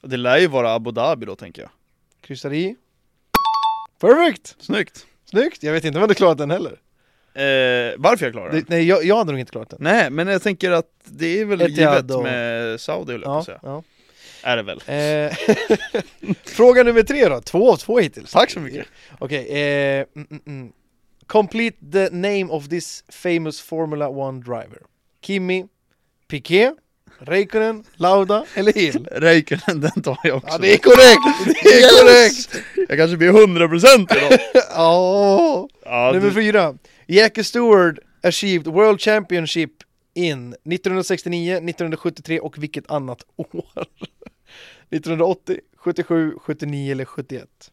[SPEAKER 2] Det lär ju vara Abu Dhabi då tänker jag.
[SPEAKER 1] Kryssar i. Perfect!
[SPEAKER 2] Snyggt!
[SPEAKER 1] Snyggt! Jag vet inte om jag hade klarat den heller.
[SPEAKER 2] Eh, varför jag klarar det?
[SPEAKER 1] Det, nej, jag, jag hade nog inte klarat den.
[SPEAKER 2] Nej, men jag tänker att det är väl
[SPEAKER 1] Etihad
[SPEAKER 2] givet
[SPEAKER 1] och-
[SPEAKER 2] med Saudi höll jag på att säga.
[SPEAKER 1] ja.
[SPEAKER 2] Är det väl?
[SPEAKER 1] Eh, Fråga nummer tre då, två av två hittills.
[SPEAKER 2] Tack så mycket!
[SPEAKER 1] Okej, eh, mm, mm, mm. Complete the name of this famous Formula 1 driver. Kimi, Piqué, Räikkönen, Lauda eller Hill?
[SPEAKER 2] eh, Räikkönen, den tar jag också.
[SPEAKER 1] Ja, det är korrekt! Det är korrekt!
[SPEAKER 2] Jag kanske blir 100% idag!
[SPEAKER 1] Åh.
[SPEAKER 2] ja,
[SPEAKER 1] Nummer
[SPEAKER 2] du...
[SPEAKER 1] fyra. Jackie Stewart achieved World Championship in 1969, 1973 och vilket annat år? 1980, 77, 79 eller 71?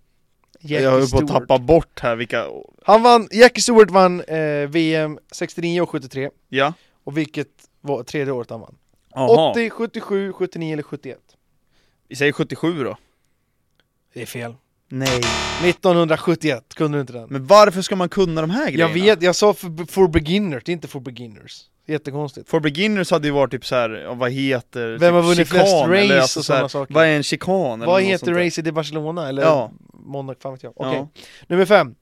[SPEAKER 1] Jackie
[SPEAKER 2] Jag höll på att
[SPEAKER 1] Stewart.
[SPEAKER 2] tappa bort här vilka...
[SPEAKER 1] Han vann, Jackie Stewart vann eh, VM 69 och 73
[SPEAKER 2] Ja?
[SPEAKER 1] Och vilket var tredje året han vann?
[SPEAKER 2] Aha.
[SPEAKER 1] 80, 77, 79 eller 71?
[SPEAKER 2] Vi säger 77 då.
[SPEAKER 1] Det är fel.
[SPEAKER 2] Nej.
[SPEAKER 1] 1971, kunde du inte den?
[SPEAKER 2] Men varför ska man kunna de här
[SPEAKER 1] Jag
[SPEAKER 2] grejerna?
[SPEAKER 1] vet, jag sa för, for beginners, det är inte for beginners. Jättekonstigt.
[SPEAKER 2] For beginners hade ju varit typ såhär, ja, vad heter...
[SPEAKER 1] Vem har
[SPEAKER 2] typ
[SPEAKER 1] vunnit
[SPEAKER 2] chikan,
[SPEAKER 1] flest
[SPEAKER 2] eller
[SPEAKER 1] race
[SPEAKER 2] alltså
[SPEAKER 1] och
[SPEAKER 2] så här,
[SPEAKER 1] sådana saker?
[SPEAKER 2] Vad är en chikan? eller
[SPEAKER 1] Vad
[SPEAKER 2] något
[SPEAKER 1] heter
[SPEAKER 2] sånt där?
[SPEAKER 1] racet i Barcelona eller
[SPEAKER 2] Ja.
[SPEAKER 1] Monaco? Fan vet jag. Okej.
[SPEAKER 2] Ja.
[SPEAKER 1] Nummer fem.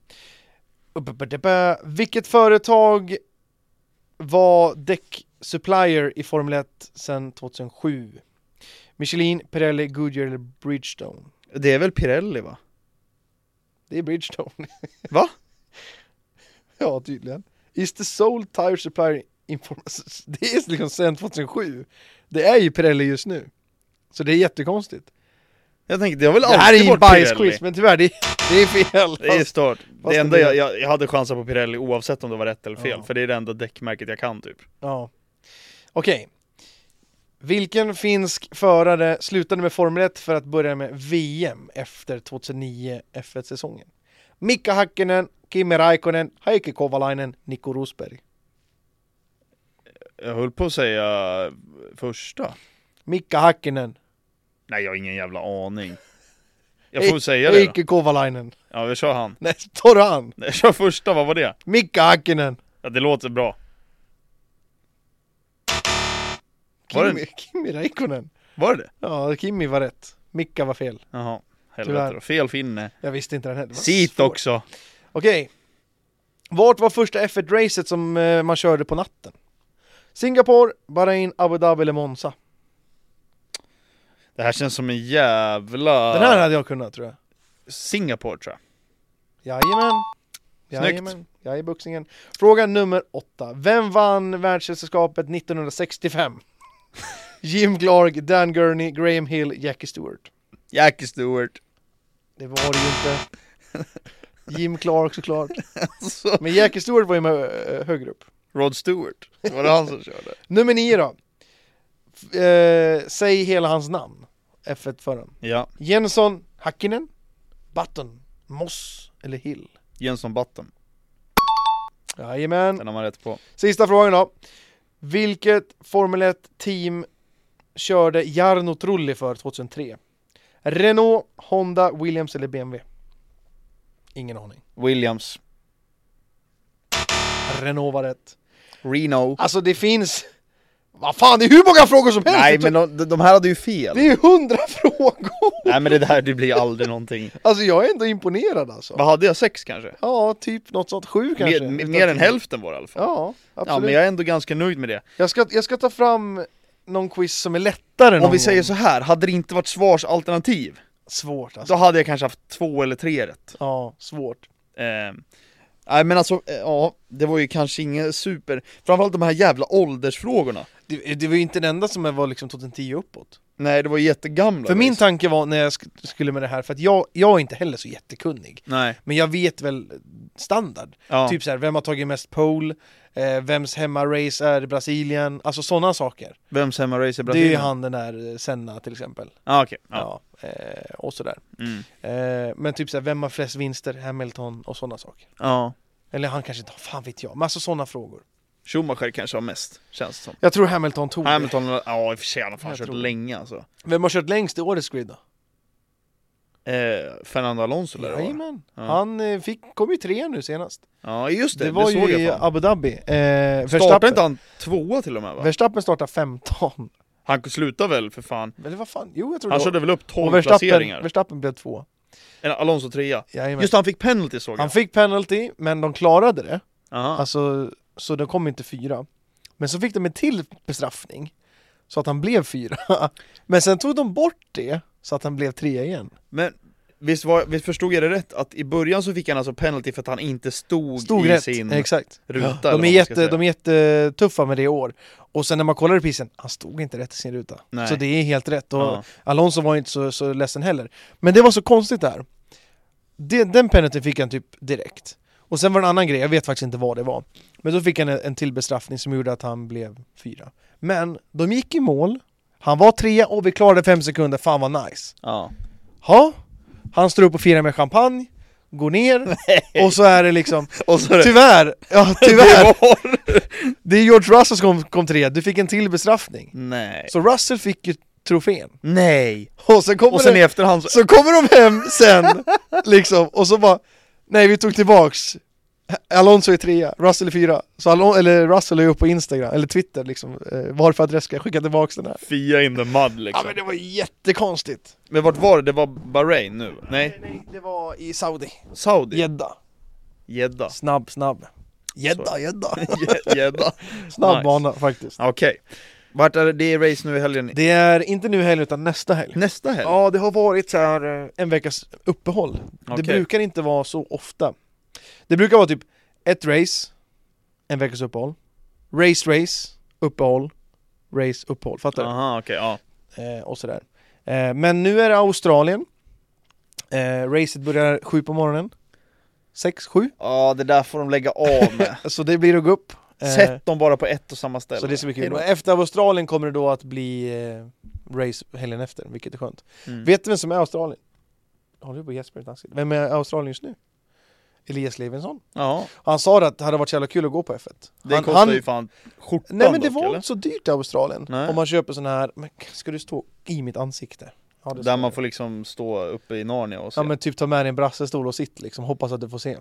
[SPEAKER 1] Upp-upp-upp-upp. Vilket företag var däck-supplier i Formel 1 sedan 2007? Michelin, Pirelli, Goodyear eller Bridgestone?
[SPEAKER 2] Det är väl Pirelli va?
[SPEAKER 1] Det är Bridgestone.
[SPEAKER 2] Va?
[SPEAKER 1] ja, tydligen. Is the sole tire supplier inform- Det är liksom sedan 2007. Det är ju Pirelli just nu. Så det är jättekonstigt.
[SPEAKER 2] Jag tänker, det har väl
[SPEAKER 1] det här är
[SPEAKER 2] alltid
[SPEAKER 1] ju en
[SPEAKER 2] varit
[SPEAKER 1] bajsquiz,
[SPEAKER 2] Pirelli?
[SPEAKER 1] men tyvärr, det, det är fel.
[SPEAKER 2] Det är
[SPEAKER 1] Fast-
[SPEAKER 2] stört.
[SPEAKER 1] fast
[SPEAKER 2] Det enda
[SPEAKER 1] det-
[SPEAKER 2] jag, jag, jag hade chanser på Pirelli oavsett om det var rätt eller fel,
[SPEAKER 1] Ja.
[SPEAKER 2] för det är det enda däckmärket jag kan typ.
[SPEAKER 1] Ja. Okej. Vilken finsk förare slutade med Formel 1 för att börja med VM efter 2009 F1-säsongen? Mika Häkkinen, Kimi Räikkönen, Heikki Kovalainen, Nico Rosberg.
[SPEAKER 2] Jag höll på att säga första.
[SPEAKER 1] Mika Hakkinen.
[SPEAKER 2] Nej, jag har ingen jävla aning. Jag får väl säga det då.
[SPEAKER 1] Eike Kovalainen.
[SPEAKER 2] Ja, vi kör han.
[SPEAKER 1] Nej, tar han.
[SPEAKER 2] Nej, jag kör första, vad var det?
[SPEAKER 1] Mika Hakkinen.
[SPEAKER 2] Ja, det låter bra. Var det-
[SPEAKER 1] Kimi, Kimi Räikkönen.
[SPEAKER 2] Var det det?
[SPEAKER 1] Ja, Kimi var rätt. Mika var fel.
[SPEAKER 2] Jaha. Helvete
[SPEAKER 1] Tyvärr.
[SPEAKER 2] då. Fel finne.
[SPEAKER 1] Jag visste inte den heller. Det var
[SPEAKER 2] Sit
[SPEAKER 1] svårt.
[SPEAKER 2] också.
[SPEAKER 1] Okej. Vart var första F1-racet som eh, man körde på natten? Singapore, Bahrain, Abu Dhabi eller Monza?
[SPEAKER 2] Det här känns som en jävla...
[SPEAKER 1] Den här hade jag kunnat tror jag.
[SPEAKER 2] Singapore tror jag.
[SPEAKER 1] Jajamän.
[SPEAKER 2] Snyggt.
[SPEAKER 1] Jajamän. Jag är buxingen. Fråga nummer åtta. Vem vann världsmästerskapet 1965? Jim Clark, Dan Gurney, Graham Hill, Jackie Stewart.
[SPEAKER 2] Jackie Stewart.
[SPEAKER 1] Det var det ju inte. Jim Clark såklart.
[SPEAKER 2] Alltså,
[SPEAKER 1] Men Jackie Stewart var ju med eh, högre upp.
[SPEAKER 2] Rod Stewart. Var det han som körde?
[SPEAKER 1] Nummer nio då. F- eh, säg hela hans namn. F1-föraren.
[SPEAKER 2] Ja.
[SPEAKER 1] Jensson, Hakkinen, Button, Moss eller Hill?
[SPEAKER 2] Jönsson Button.
[SPEAKER 1] Jajamän.
[SPEAKER 2] Den har man rätt på.
[SPEAKER 1] Sista frågan då. Vilket Formel 1-team körde Jarno Trulli för 2003? Renault, Honda, Williams eller BMW? Ingen aning.
[SPEAKER 2] Williams.
[SPEAKER 1] Renault var rätt.
[SPEAKER 2] Reno.
[SPEAKER 1] Alltså det finns... Vad fan, det är hur många frågor som helst!
[SPEAKER 2] Nej men de, de här hade ju fel.
[SPEAKER 1] Det är hundra frågor!
[SPEAKER 2] Nej men det där, det blir aldrig någonting.
[SPEAKER 1] Alltså jag är ändå imponerad alltså.
[SPEAKER 2] Vad hade jag? Sex kanske?
[SPEAKER 1] Ja, typ något sånt. Sju kanske.
[SPEAKER 2] Mer, mer-
[SPEAKER 1] Utan
[SPEAKER 2] mer än
[SPEAKER 1] tio.
[SPEAKER 2] hälften var det i alla fall.
[SPEAKER 1] Ja,
[SPEAKER 2] Ja,
[SPEAKER 1] absolut.
[SPEAKER 2] men jag är ändå ganska nöjd med det.
[SPEAKER 1] Jag ska, jag ska ta fram någon quiz som är lättare någon
[SPEAKER 2] Om vi säger
[SPEAKER 1] gång.
[SPEAKER 2] så här, hade det inte varit svarsalternativ,
[SPEAKER 1] Svårt alltså.
[SPEAKER 2] då hade jag kanske haft två eller tre rätt.
[SPEAKER 1] Ja, svårt.
[SPEAKER 2] Eh, Nej men alltså, eh, ja, det var ju kanske inget super... Framförallt de här jävla åldersfrågorna.
[SPEAKER 1] Det, det var ju inte den enda som var liksom 2010 uppåt.
[SPEAKER 2] Nej, det var ju jättegamla.
[SPEAKER 1] För min
[SPEAKER 2] race.
[SPEAKER 1] tanke var när jag sk- skulle med det här, för att jag, jag är inte heller så jättekunnig.
[SPEAKER 2] Nej.
[SPEAKER 1] Men jag vet väl standard.
[SPEAKER 2] Ja.
[SPEAKER 1] Typ så här, vem har tagit mest pole? Eh, vems hemmarace är Brasilien? Alltså sådana saker.
[SPEAKER 2] Vems hemmarace i
[SPEAKER 1] Det är
[SPEAKER 2] Brasilien?
[SPEAKER 1] ju han den där eh, Senna till exempel.
[SPEAKER 2] Ah, okej. Ja.
[SPEAKER 1] Ja. eh, och sådär.
[SPEAKER 2] Mm.
[SPEAKER 1] Eh, men typ så här, vem har flest vinster? Hamilton och sådana saker.
[SPEAKER 2] ja.
[SPEAKER 1] Eller han kanske inte har, fan vet jag. Men alltså sådana frågor.
[SPEAKER 2] Schumacher kanske har mest, känns det som.
[SPEAKER 1] Jag tror Hamilton tog det.
[SPEAKER 2] Hamilton, ja i och för sig, han har fan
[SPEAKER 1] Jag
[SPEAKER 2] kört
[SPEAKER 1] tror det.
[SPEAKER 2] länge alltså.
[SPEAKER 1] Vem har kört längst i årets grid då?
[SPEAKER 2] Eh, Fernando Alonso där va?
[SPEAKER 1] Jajamän.
[SPEAKER 2] Ja.
[SPEAKER 1] Han eh, fick, kom ju tre nu senast.
[SPEAKER 2] Ja just det,
[SPEAKER 1] Det
[SPEAKER 2] det,
[SPEAKER 1] var
[SPEAKER 2] såg
[SPEAKER 1] ju i
[SPEAKER 2] jag fan.
[SPEAKER 1] Abu Dhabi. Eh,
[SPEAKER 2] Startade
[SPEAKER 1] Verstappen-
[SPEAKER 2] inte han tvåa till och med va?
[SPEAKER 1] Verstappen startade 15.
[SPEAKER 2] Han slutade väl för fan?
[SPEAKER 1] Eller vad fan? Jo, jag tror
[SPEAKER 2] Han
[SPEAKER 1] det. var-
[SPEAKER 2] körde väl upp
[SPEAKER 1] Och
[SPEAKER 2] 12
[SPEAKER 1] Verstappen,
[SPEAKER 2] placeringar?
[SPEAKER 1] Verstappen blev två.
[SPEAKER 2] En Alonso trea.
[SPEAKER 1] Jajamän.
[SPEAKER 2] Just det, han fick penalty såg
[SPEAKER 1] han
[SPEAKER 2] jag.
[SPEAKER 1] fick penalty, men de klarade det.
[SPEAKER 2] Aha.
[SPEAKER 1] Alltså, så de kom inte fyra. Men så fick de en till bestraffning, så att han blev fyra. Men sen tog de bort det, så att han blev tre igen.
[SPEAKER 2] Men visst, var, visst förstod jag det rätt? Att i början så fick han alltså penalty för att han inte stod,
[SPEAKER 1] Stod
[SPEAKER 2] i
[SPEAKER 1] rätt,
[SPEAKER 2] sin...
[SPEAKER 1] exakt.
[SPEAKER 2] ruta, eller vad
[SPEAKER 1] de,
[SPEAKER 2] man
[SPEAKER 1] är
[SPEAKER 2] ska
[SPEAKER 1] jätte,
[SPEAKER 2] säga.
[SPEAKER 1] de är jättetuffa med det i år. Och sen när man kollar reprisen, han stod inte rätt i sin ruta.
[SPEAKER 2] Nej.
[SPEAKER 1] Så det är helt rätt. Och
[SPEAKER 2] Ja.
[SPEAKER 1] Alonso var ju inte så, så ledsen heller. Men det var så konstigt där. Det, den penaltyn fick han typ direkt. Och sen var det en annan grej, jag vet faktiskt inte vad det var. Men då fick han en, en till bestraffning som gjorde att han blev fyra. Men de gick i mål, han var trea och vi klarade fem sekunder, fan vad nice.
[SPEAKER 2] Ja.
[SPEAKER 1] Ja, han står upp och firar med champagne, går ner och så är det liksom
[SPEAKER 2] Och så är det...
[SPEAKER 1] Tyvärr, ja tyvärr.
[SPEAKER 2] Det var...
[SPEAKER 1] Det är George Russell som kom trea, du fick en till bestraffning.
[SPEAKER 2] Nej.
[SPEAKER 1] Så Russell fick ju trofén.
[SPEAKER 2] Nej.
[SPEAKER 1] Och sen kommer,
[SPEAKER 2] Och sen i
[SPEAKER 1] det,
[SPEAKER 2] efterhand så...
[SPEAKER 1] så kommer de hem sen, liksom, och så bara Nej vi tog tillbaks Alonso är trea, Russell är fyra. Så Alon- eller Russell är uppe på Instagram, eller Twitter liksom. Eh, vad har du för adress ska jag skicka tillbaks den här?
[SPEAKER 2] Fia in the mud
[SPEAKER 1] Ja
[SPEAKER 2] liksom.
[SPEAKER 1] men det var jättekonstigt.
[SPEAKER 2] Men vart var det? Det var Bahrain nu? Nej,
[SPEAKER 1] Nej, det var i Saudi.
[SPEAKER 2] Saudi?
[SPEAKER 1] Jedda.
[SPEAKER 2] Jedda.
[SPEAKER 1] Snabb, snabb. Jedda, jedda.
[SPEAKER 2] Jedda.
[SPEAKER 1] Snabb
[SPEAKER 2] Nice.
[SPEAKER 1] bana faktiskt.
[SPEAKER 2] Okej. Vart är det, det är race nu i helgen?
[SPEAKER 1] Det är inte nu helg utan nästa helg.
[SPEAKER 2] Nästa helg?
[SPEAKER 1] Ja, det har varit så här eh, en veckas uppehåll. Det
[SPEAKER 2] Okej.
[SPEAKER 1] brukar inte vara så ofta. Det brukar vara typ ett race, en veckas uppehåll. Race, race, uppehåll, race, uppehåll. Fattar
[SPEAKER 2] Aha, okej, ja.
[SPEAKER 1] du? Eh, och sådär. Eh, men nu är det Australien. Eh, racet börjar sju på morgonen. Sex, sju.
[SPEAKER 2] Ja, det där får de lägga av med.
[SPEAKER 1] Så det blir att gå upp. Eh,
[SPEAKER 2] Sätt dem bara på ett och samma ställe.
[SPEAKER 1] Så det ska bli kul. Och
[SPEAKER 2] Hejdå.
[SPEAKER 1] efter Australien kommer det då att bli eh, race helgen efter, vilket är skönt.
[SPEAKER 2] Mm.
[SPEAKER 1] Vet du vem som är Australien? Håller du på Jesper Dansken? Vem är Australien just nu? Elias Levinson.
[SPEAKER 2] Ja,
[SPEAKER 1] Han sa att det hade varit så jävla kul att gå på F1.
[SPEAKER 2] det
[SPEAKER 1] han,
[SPEAKER 2] kostar
[SPEAKER 1] han,
[SPEAKER 2] ju fan skjortan
[SPEAKER 1] Nej men det
[SPEAKER 2] dock,
[SPEAKER 1] var
[SPEAKER 2] eller?
[SPEAKER 1] inte så dyrt i Australien.
[SPEAKER 2] Nej.
[SPEAKER 1] Om man köper sån här, men ska du stå i mitt ansikte? Ja, det
[SPEAKER 2] Där
[SPEAKER 1] ska
[SPEAKER 2] man
[SPEAKER 1] du.
[SPEAKER 2] får liksom stå uppe i Narnia och se.
[SPEAKER 1] Ja men typ ta med dig en brassestol och sitt liksom, hoppas att du får se.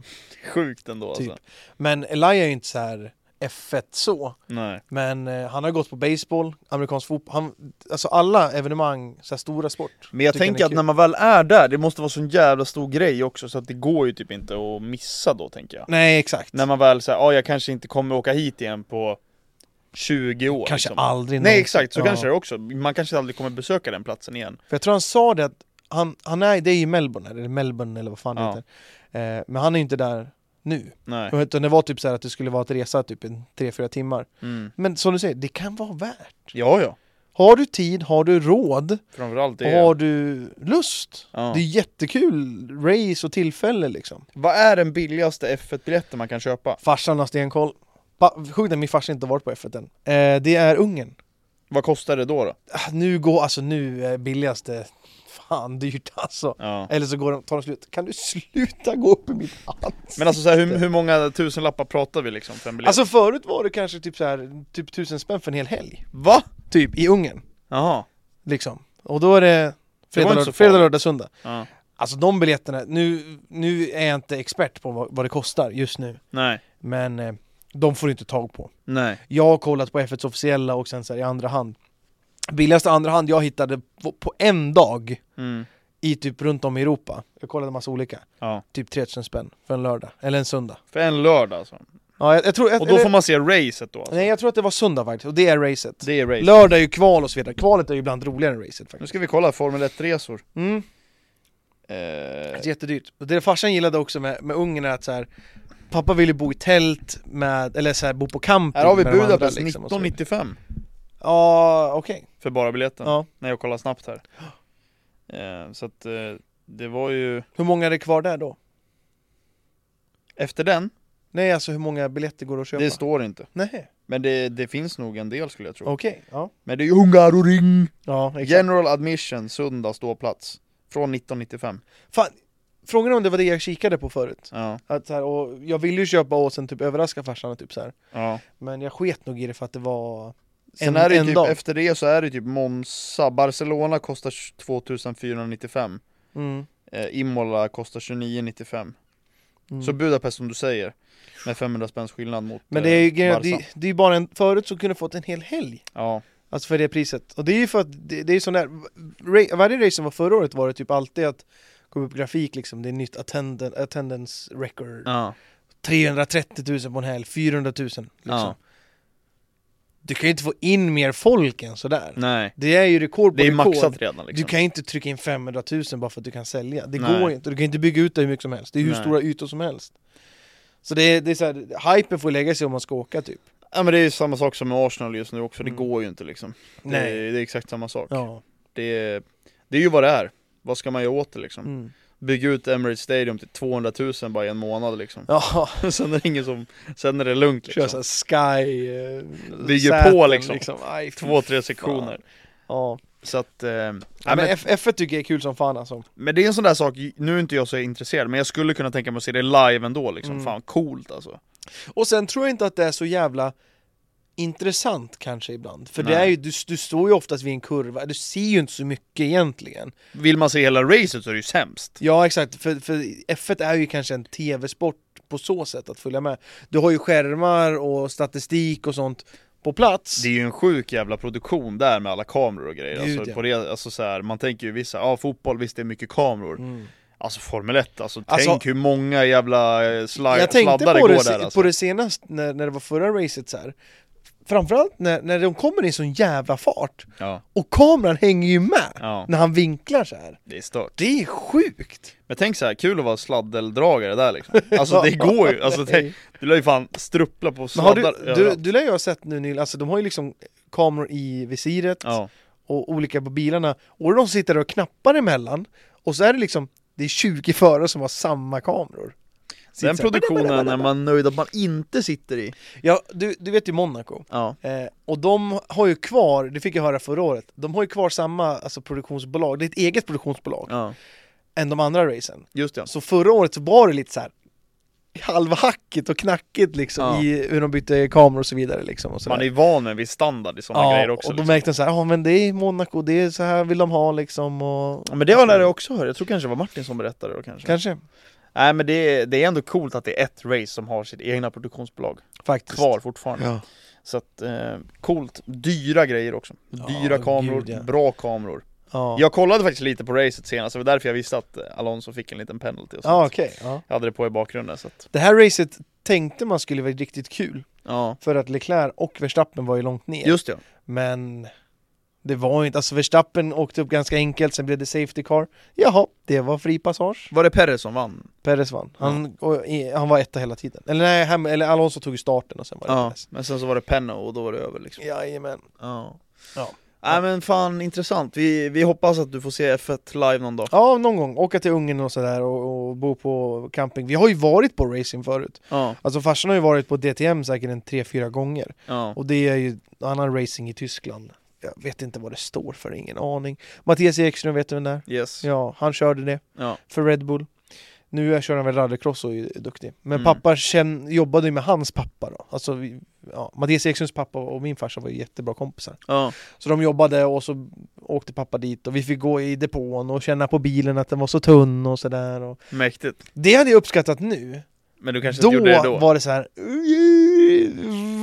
[SPEAKER 2] Sjukt ändå
[SPEAKER 1] Typ.
[SPEAKER 2] alltså.
[SPEAKER 1] Men Elia är ju inte så här F1 så.
[SPEAKER 2] Nej.
[SPEAKER 1] Men eh, han har gått på baseball, amerikansk fotboll, han, alltså alla evenemang, så här stora sport.
[SPEAKER 2] Men jag
[SPEAKER 1] tycker han är
[SPEAKER 2] tänker att
[SPEAKER 1] kul.
[SPEAKER 2] när man väl är där, det måste vara sån jävla stor grej också så att det går ju typ inte att missa då tänker jag.
[SPEAKER 1] Nej exakt.
[SPEAKER 2] När man väl säger, ja jag kanske inte kommer åka hit igen på 20 år.
[SPEAKER 1] Kanske
[SPEAKER 2] liksom.
[SPEAKER 1] aldrig
[SPEAKER 2] Nej
[SPEAKER 1] någonsin.
[SPEAKER 2] exakt, så
[SPEAKER 1] Ja.
[SPEAKER 2] kanske det är också. Man kanske aldrig kommer besöka den platsen igen.
[SPEAKER 1] För jag tror han sa det att han, han är, det är i Melbourne, eller Melbourne eller vad fan
[SPEAKER 2] Ja.
[SPEAKER 1] det heter. Eh, men han är ju inte där nu.
[SPEAKER 2] Nej.
[SPEAKER 1] Utan det var typ så här att det skulle vara att resa typ en 3-4 timmar.
[SPEAKER 2] Mm.
[SPEAKER 1] Men som du säger, det kan vara värt.
[SPEAKER 2] Ja, ja.
[SPEAKER 1] Har du tid, har du råd
[SPEAKER 2] Framförallt
[SPEAKER 1] och
[SPEAKER 2] det.
[SPEAKER 1] har du lust.
[SPEAKER 2] Ja.
[SPEAKER 1] Det är jättekul race och tillfälle liksom.
[SPEAKER 2] Vad är den billigaste F1-biljetten man kan köpa?
[SPEAKER 1] Farsan har stenkoll. Pa- Sjukt att min farsa inte har varit på F1 än. Eh, det är Ungern.
[SPEAKER 2] Vad kostar det då? då?
[SPEAKER 1] Ah, Nu går, alltså nu är billigaste, fan dyrt alltså.
[SPEAKER 2] Ja.
[SPEAKER 1] Eller så går de, tar de slut. Kan du sluta gå upp i mitt ansikte?
[SPEAKER 2] Men alltså så här, hur, hur många tusenlappar pratar vi liksom för en biljett?
[SPEAKER 1] Alltså förut var det kanske typ så här, typ tusen spänn för en hel helg.
[SPEAKER 2] va?
[SPEAKER 1] Typ i Ungern.
[SPEAKER 2] Jaha.
[SPEAKER 1] Liksom. Och då är det fredag,
[SPEAKER 2] inte
[SPEAKER 1] lördag,
[SPEAKER 2] så
[SPEAKER 1] fredag,
[SPEAKER 2] farligt.
[SPEAKER 1] lördag, söndag.
[SPEAKER 2] Ja.
[SPEAKER 1] Alltså de biljetterna, nu, nu är jag inte expert på vad, vad det kostar just nu.
[SPEAKER 2] Nej.
[SPEAKER 1] Men eh, de får du inte tag på.
[SPEAKER 2] Nej.
[SPEAKER 1] Jag har kollat på F1s officiella och sen så här i andra hand. Billigaste andra hand jag hittade på, på en dag
[SPEAKER 2] Mm.
[SPEAKER 1] i typ runt om i Europa. Jag kollade en massa olika.
[SPEAKER 2] Ja.
[SPEAKER 1] Typ 3000 spänn för en lördag, eller en söndag.
[SPEAKER 2] För en lördag alltså.
[SPEAKER 1] Ja, jag, jag tror,
[SPEAKER 2] Och då får man se racet då? Alltså.
[SPEAKER 1] Nej, jag tror att det var söndag faktiskt, och det är racet.
[SPEAKER 2] Det är race.
[SPEAKER 1] Lördag är ju kval och så vidare, kvalet är ju ibland roligare än racet
[SPEAKER 2] Nu
[SPEAKER 1] faktiskt.
[SPEAKER 2] ska vi kolla Formel 1-resor.
[SPEAKER 1] Mm.
[SPEAKER 2] Eh,
[SPEAKER 1] Det är Alltså, jättedyrt. Och det farsan gillade också med, med Ungern är att så här, pappa ville bo i tält med, eller så här, bo på camping
[SPEAKER 2] här har vi
[SPEAKER 1] med de andra,
[SPEAKER 2] Budapest
[SPEAKER 1] liksom, och så vidare.
[SPEAKER 2] 1995
[SPEAKER 1] Ja, okej.
[SPEAKER 2] för bara biljetten.
[SPEAKER 1] Ja.
[SPEAKER 2] När jag kollar snabbt här. Eh, så att eh, det var ju...
[SPEAKER 1] Hur många är det kvar där då?
[SPEAKER 2] Efter den,
[SPEAKER 1] Nej, alltså hur många biljetter går det att köpa?
[SPEAKER 2] det står inte.
[SPEAKER 1] Nej,
[SPEAKER 2] Men det, det finns nog en del skulle jag tro.
[SPEAKER 1] okej. Ja.
[SPEAKER 2] Men det är ju Hungaroring!
[SPEAKER 1] ja, exakt.
[SPEAKER 2] General Admission, söndag ståplats. Från 1995.
[SPEAKER 1] Fan, frågan är om det var det jag kikade på förut.
[SPEAKER 2] Ja.
[SPEAKER 1] Att så här, och jag ville ju köpa och sen typ överraska farsan och typ så här.
[SPEAKER 2] ja.
[SPEAKER 1] Men jag sket nog i det för att det var...
[SPEAKER 2] Sen
[SPEAKER 1] En-
[SPEAKER 2] är det ju
[SPEAKER 1] en
[SPEAKER 2] typ,
[SPEAKER 1] dag.
[SPEAKER 2] efter det så är det typ Monza, Barcelona kostar 2495
[SPEAKER 1] Mm.
[SPEAKER 2] eh, Imola kostar 2995
[SPEAKER 1] Mm.
[SPEAKER 2] Så Budapest som du säger, med 500 spänns skillnad mot
[SPEAKER 1] Men det är ju
[SPEAKER 2] eh,
[SPEAKER 1] grejen,
[SPEAKER 2] Barca.
[SPEAKER 1] det, det är ju bara en, förut så kunde du fått en hel helg
[SPEAKER 2] Ja,
[SPEAKER 1] Alltså för det priset, och det är ju för att det, det är sån där ra- Varje race som var förra året var det typ alltid att Kom upp grafik liksom, det är nytt attenden, attendance record
[SPEAKER 2] ja.
[SPEAKER 1] 330 000 på en helg, 400 000 liksom
[SPEAKER 2] Ja.
[SPEAKER 1] Du kan ju inte få in mer folk än sådär
[SPEAKER 2] nej
[SPEAKER 1] Det är ju rekord på
[SPEAKER 2] Det är
[SPEAKER 1] rekord
[SPEAKER 2] maxat redan liksom
[SPEAKER 1] Du kan ju inte trycka in 500 000 bara för att du kan sälja Det
[SPEAKER 2] Nej.
[SPEAKER 1] går ju inte, du kan inte bygga ut det hur mycket som helst Det är hur
[SPEAKER 2] Nej.
[SPEAKER 1] stora ytor som helst Så det är, det är så här, hypen får lägga sig om man ska åka typ
[SPEAKER 2] Ja men det är ju samma sak som med Arsenal just nu också, det
[SPEAKER 1] Mm.
[SPEAKER 2] går ju inte liksom det,
[SPEAKER 1] Nej.
[SPEAKER 2] är, det är exakt samma sak
[SPEAKER 1] Ja,
[SPEAKER 2] det, är, det är ju vad det är, vad ska man göra åt det liksom?
[SPEAKER 1] mm.
[SPEAKER 2] Bygga ut Emirates Stadium till 200 000 bara i en månad liksom
[SPEAKER 1] ja
[SPEAKER 2] Sen är det ingen som, sen är det lugnt
[SPEAKER 1] kör
[SPEAKER 2] liksom
[SPEAKER 1] såhär sky... eh,
[SPEAKER 2] Bygger
[SPEAKER 1] säten,
[SPEAKER 2] på, liksom.
[SPEAKER 1] Aj, fy
[SPEAKER 2] Två, tre
[SPEAKER 1] fan.
[SPEAKER 2] sektioner
[SPEAKER 1] Ja.
[SPEAKER 2] Så att, eh, ja,
[SPEAKER 1] Nej, men
[SPEAKER 2] men,
[SPEAKER 1] F- F1 tycker jag är kul som fan alltså.
[SPEAKER 2] men det är en sån där sak, nu är inte jag så intresserad men jag skulle kunna tänka mig att se det live ändå liksom,
[SPEAKER 1] Mm.
[SPEAKER 2] fan coolt alltså
[SPEAKER 1] Och sen tror jag inte att det är så jävla intressant kanske ibland. För det
[SPEAKER 2] Nej.
[SPEAKER 1] är ju, du, du står ju oftast vid en kurva, du ser ju inte så mycket egentligen.
[SPEAKER 2] Vill man se hela racet så är det ju sämst
[SPEAKER 1] Ja exakt, för, för F1 är ju kanske en tv-sport på så sätt att följa med. Du har ju skärmar och statistik och sånt på plats.
[SPEAKER 2] Det är ju en sjuk jävla produktion där med alla kameror och grejer
[SPEAKER 1] Gud,
[SPEAKER 2] alltså,
[SPEAKER 1] ja.
[SPEAKER 2] på det, alltså så här, man tänker ju vissa, ja fotboll visst det är mycket kameror
[SPEAKER 1] Mm.
[SPEAKER 2] Alltså Formel 1, alltså,
[SPEAKER 1] Alltså-
[SPEAKER 2] tänk hur många jävla eh, sla-
[SPEAKER 1] jag tänkte
[SPEAKER 2] sladdar det
[SPEAKER 1] på
[SPEAKER 2] går
[SPEAKER 1] det,
[SPEAKER 2] där
[SPEAKER 1] se-
[SPEAKER 2] alltså.
[SPEAKER 1] på det senast när, när det var förra racet så här. Framförallt när, när de kommer i sån jävla fart
[SPEAKER 2] Ja,
[SPEAKER 1] och kameran hänger ju med
[SPEAKER 2] ja,
[SPEAKER 1] när han vinklar så här.
[SPEAKER 2] det är stört
[SPEAKER 1] Det är sjukt!
[SPEAKER 2] Men tänk så här, kul att vara sladdeldragare där liksom Alltså det går ju, alltså,
[SPEAKER 1] Nej.
[SPEAKER 2] tänk, du lär ju fan struppla på
[SPEAKER 1] Men har
[SPEAKER 2] sladdar
[SPEAKER 1] du, du,
[SPEAKER 2] överallt.
[SPEAKER 1] du lär ju ha sett nu Neil, alltså de har ju liksom kameror i visiret
[SPEAKER 2] Ja,
[SPEAKER 1] och olika på bilarna och de sitter och knappar emellan och så är det liksom det är 20 förare som har samma kameror. Sitter
[SPEAKER 2] den
[SPEAKER 1] så här,
[SPEAKER 2] produktionen är man nöjd att man inte sitter i
[SPEAKER 1] Ja, du, du vet ju Monaco.
[SPEAKER 2] Ja,
[SPEAKER 1] Eh, och de har ju kvar, det fick jag höra förra året, de har ju kvar samma alltså, produktionsbolag, det är ett eget produktionsbolag,
[SPEAKER 2] ja,
[SPEAKER 1] än de andra racen.
[SPEAKER 2] just det
[SPEAKER 1] Så förra året så var det lite så här halvhackigt och knackigt liksom
[SPEAKER 2] Ja.
[SPEAKER 1] i hur de bytte kameror och så vidare liksom och sådär.
[SPEAKER 2] Man är ju van med en viss standard i sådana
[SPEAKER 1] ja,
[SPEAKER 2] grejer också.
[SPEAKER 1] och då
[SPEAKER 2] liksom.
[SPEAKER 1] märkte de så här, ja men det är Monaco, det är så här vill de ha liksom och
[SPEAKER 2] Ja, men det var jag också hörde, jag tror kanske det var Martin som berättade då kanske.
[SPEAKER 1] kanske
[SPEAKER 2] Nej men det, det är ändå coolt att det är ett race som har sitt egna produktionsbolag
[SPEAKER 1] faktiskt.
[SPEAKER 2] kvar fortfarande.
[SPEAKER 1] Ja.
[SPEAKER 2] Så att, eh, coolt. Dyra grejer också.
[SPEAKER 1] Ja,
[SPEAKER 2] Dyra kameror,
[SPEAKER 1] gud, ja.
[SPEAKER 2] bra kameror.
[SPEAKER 1] Ja, ja.
[SPEAKER 2] Jag kollade faktiskt lite på racet senast, det var därför jag visste att eh, Alonso fick en liten penalty och sånt.
[SPEAKER 1] okej. Ja.
[SPEAKER 2] Jag hade det på i bakgrunden så att,
[SPEAKER 1] Det här racet tänkte man skulle vara riktigt kul
[SPEAKER 2] ja.
[SPEAKER 1] för att Leclerc och Verstappen var ju långt ner.
[SPEAKER 2] Just det.
[SPEAKER 1] Men det var ju inte, alltså Verstappen åkte upp ganska enkelt, sen blev det Safety Car. Jaha, det var fri passage.
[SPEAKER 2] Var det Perre som vann?
[SPEAKER 1] Perez vann. Han, och, i- han var etta hela tiden. Eller nej, han, eller Alonso tog ju starten och sen var det
[SPEAKER 2] Ja,
[SPEAKER 1] Perez.
[SPEAKER 2] men sen så var det Penno och då var det över liksom.
[SPEAKER 1] Jajamän.
[SPEAKER 2] Ja.
[SPEAKER 1] Ja.
[SPEAKER 2] Nej men fan intressant, vi, vi hoppas att du får se F1 live någon dag.
[SPEAKER 1] Ja, någon gång. Åka till Ungern och sådär och, och bo på camping. Vi har ju varit på racing förut.
[SPEAKER 2] Ja,
[SPEAKER 1] Alltså farsan har ju varit på DTM säkert en tre fyra gånger.
[SPEAKER 2] ja.
[SPEAKER 1] Och det är ju annan racing i Tyskland. Jag vet inte vad det står för, ingen aning. Mattias Ekström, vet du vem det är?
[SPEAKER 2] Yes.
[SPEAKER 1] Ja, han körde det
[SPEAKER 2] Ja.
[SPEAKER 1] för Red Bull. Nu är- kör han väl rallycross och är duktig. Men
[SPEAKER 2] Mm.
[SPEAKER 1] pappa känn, jobbade ju med hans pappa då. Alltså, vi- ja, Mattias Ekströms pappa och min farsa var ju jättebra kompisar.
[SPEAKER 2] Ja.
[SPEAKER 1] Så de jobbade och så åkte pappa dit och vi fick gå i depån och känna på bilen att den var så tunn och sådär. Och...
[SPEAKER 2] Mäktigt.
[SPEAKER 1] Det hade jag uppskattat nu.
[SPEAKER 2] Men du kanske
[SPEAKER 1] Då,
[SPEAKER 2] inte gjorde det då?
[SPEAKER 1] var det så här. "Ui,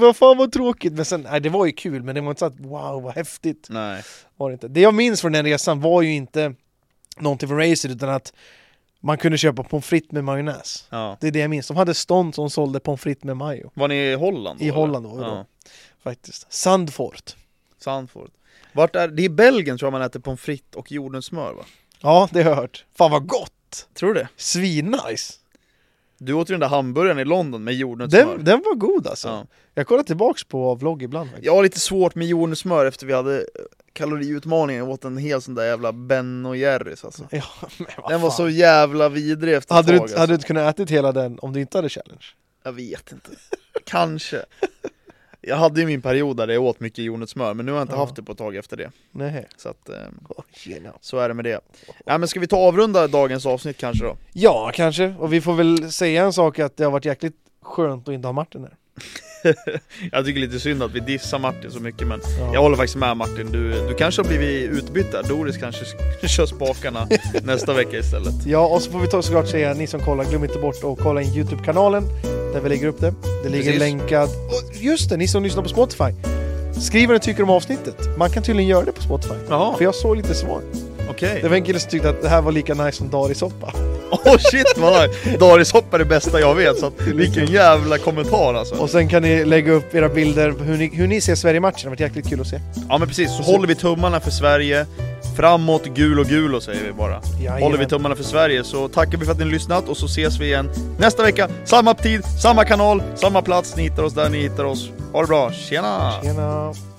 [SPEAKER 1] Vad fan vad tråkigt. Men sen, nej, det var ju kul men det var inte så att wow vad häftigt.
[SPEAKER 2] Nej.
[SPEAKER 1] Var det, inte. det jag minns från den resan var ju inte någonting från racet utan att man kunde köpa pommes frites med majonnäs.
[SPEAKER 2] Ja.
[SPEAKER 1] Det är det jag minns. De hade stånd som sålde pommes frites med majo
[SPEAKER 2] Var ni i Holland? då,
[SPEAKER 1] I
[SPEAKER 2] eller?
[SPEAKER 1] Holland då,
[SPEAKER 2] Ja.
[SPEAKER 1] då. faktiskt. Sandfort.
[SPEAKER 2] Sandford. Vart är, det är i Belgien tror jag man äter pommes frites och jordnötssmör va?
[SPEAKER 1] Ja, det har jag hört. Fan vad gott!
[SPEAKER 2] Tror du det?
[SPEAKER 1] Svinnice!
[SPEAKER 2] Du åt ju den där hamburgaren i London med jordnötssmör.
[SPEAKER 1] Den, den var god alltså.
[SPEAKER 2] Ja.
[SPEAKER 1] Jag kollar tillbaks på vlogg ibland. faktiskt.
[SPEAKER 2] Jag har lite svårt med jordnötssmör efter vi hade eh, kaloriutmaningen, jag åt en hel sån där jävla Ben och Jerrys alltså.
[SPEAKER 1] Ja, men vad
[SPEAKER 2] Den var
[SPEAKER 1] fan.
[SPEAKER 2] så jävla vidrig efter
[SPEAKER 1] hade,
[SPEAKER 2] ett
[SPEAKER 1] du,
[SPEAKER 2] tag alltså.
[SPEAKER 1] hade du inte kunnat ätit hela den om du inte hade challenge?
[SPEAKER 2] Jag vet inte. Kanske. Jag hade ju min period där jag åt mycket jordnötssmör, men nu har jag inte
[SPEAKER 1] Ja.
[SPEAKER 2] haft det på ett tag efter det.
[SPEAKER 1] Nej.
[SPEAKER 2] Så att, ehm,
[SPEAKER 1] Oh, tjena.
[SPEAKER 2] så är det med det. Ja, men ska vi ta och avrunda dagens avsnitt kanske då?
[SPEAKER 1] ja, kanske. Och vi får väl säga en sak att det har varit jäkligt skönt att inte ha Martin här.
[SPEAKER 2] Jag tycker lite synd att vi dissar Martin så mycket men
[SPEAKER 1] Ja.
[SPEAKER 2] jag håller faktiskt med Martin, du, du kanske har blivit utbytt där. Doris kanske sk- kör spakarna nästa vecka istället.
[SPEAKER 1] Ja, och så får vi ta såklart säga, ni som kollar, glöm inte bort att kolla in YouTube-kanalen där vi lägger upp det. Det ligger
[SPEAKER 2] Precis.
[SPEAKER 1] länkad. Och just det, ni som lyssnar på Spotify. Skriv vad ni tycker om avsnittet. Man kan tydligen göra det på Spotify.
[SPEAKER 2] Jaha,
[SPEAKER 1] För jag såg lite svar.
[SPEAKER 2] okej.
[SPEAKER 1] Det var en kille som tyckte att det här var lika nice som darisoppa.
[SPEAKER 2] Åh shit vad nice! Daris hopp är det bästa jag vet så att, vilken jävla kommentar alltså.
[SPEAKER 1] Och sen kan ni lägga upp era bilder på hur ni, hur ni ser Sverige-matchen. Det har varit jäkligt kul att se.
[SPEAKER 2] Ja men precis, så håller vi tummarna för Sverige. Framåt gul och gul och säger vi bara.
[SPEAKER 1] Jajamän.
[SPEAKER 2] Håller vi tummarna för Sverige så tackar vi för att ni har lyssnat och så ses vi igen nästa vecka. Samma tid, samma kanal, samma plats. Ni hittar oss där ni hittar oss. Ha det bra, tjena!
[SPEAKER 1] Tjena!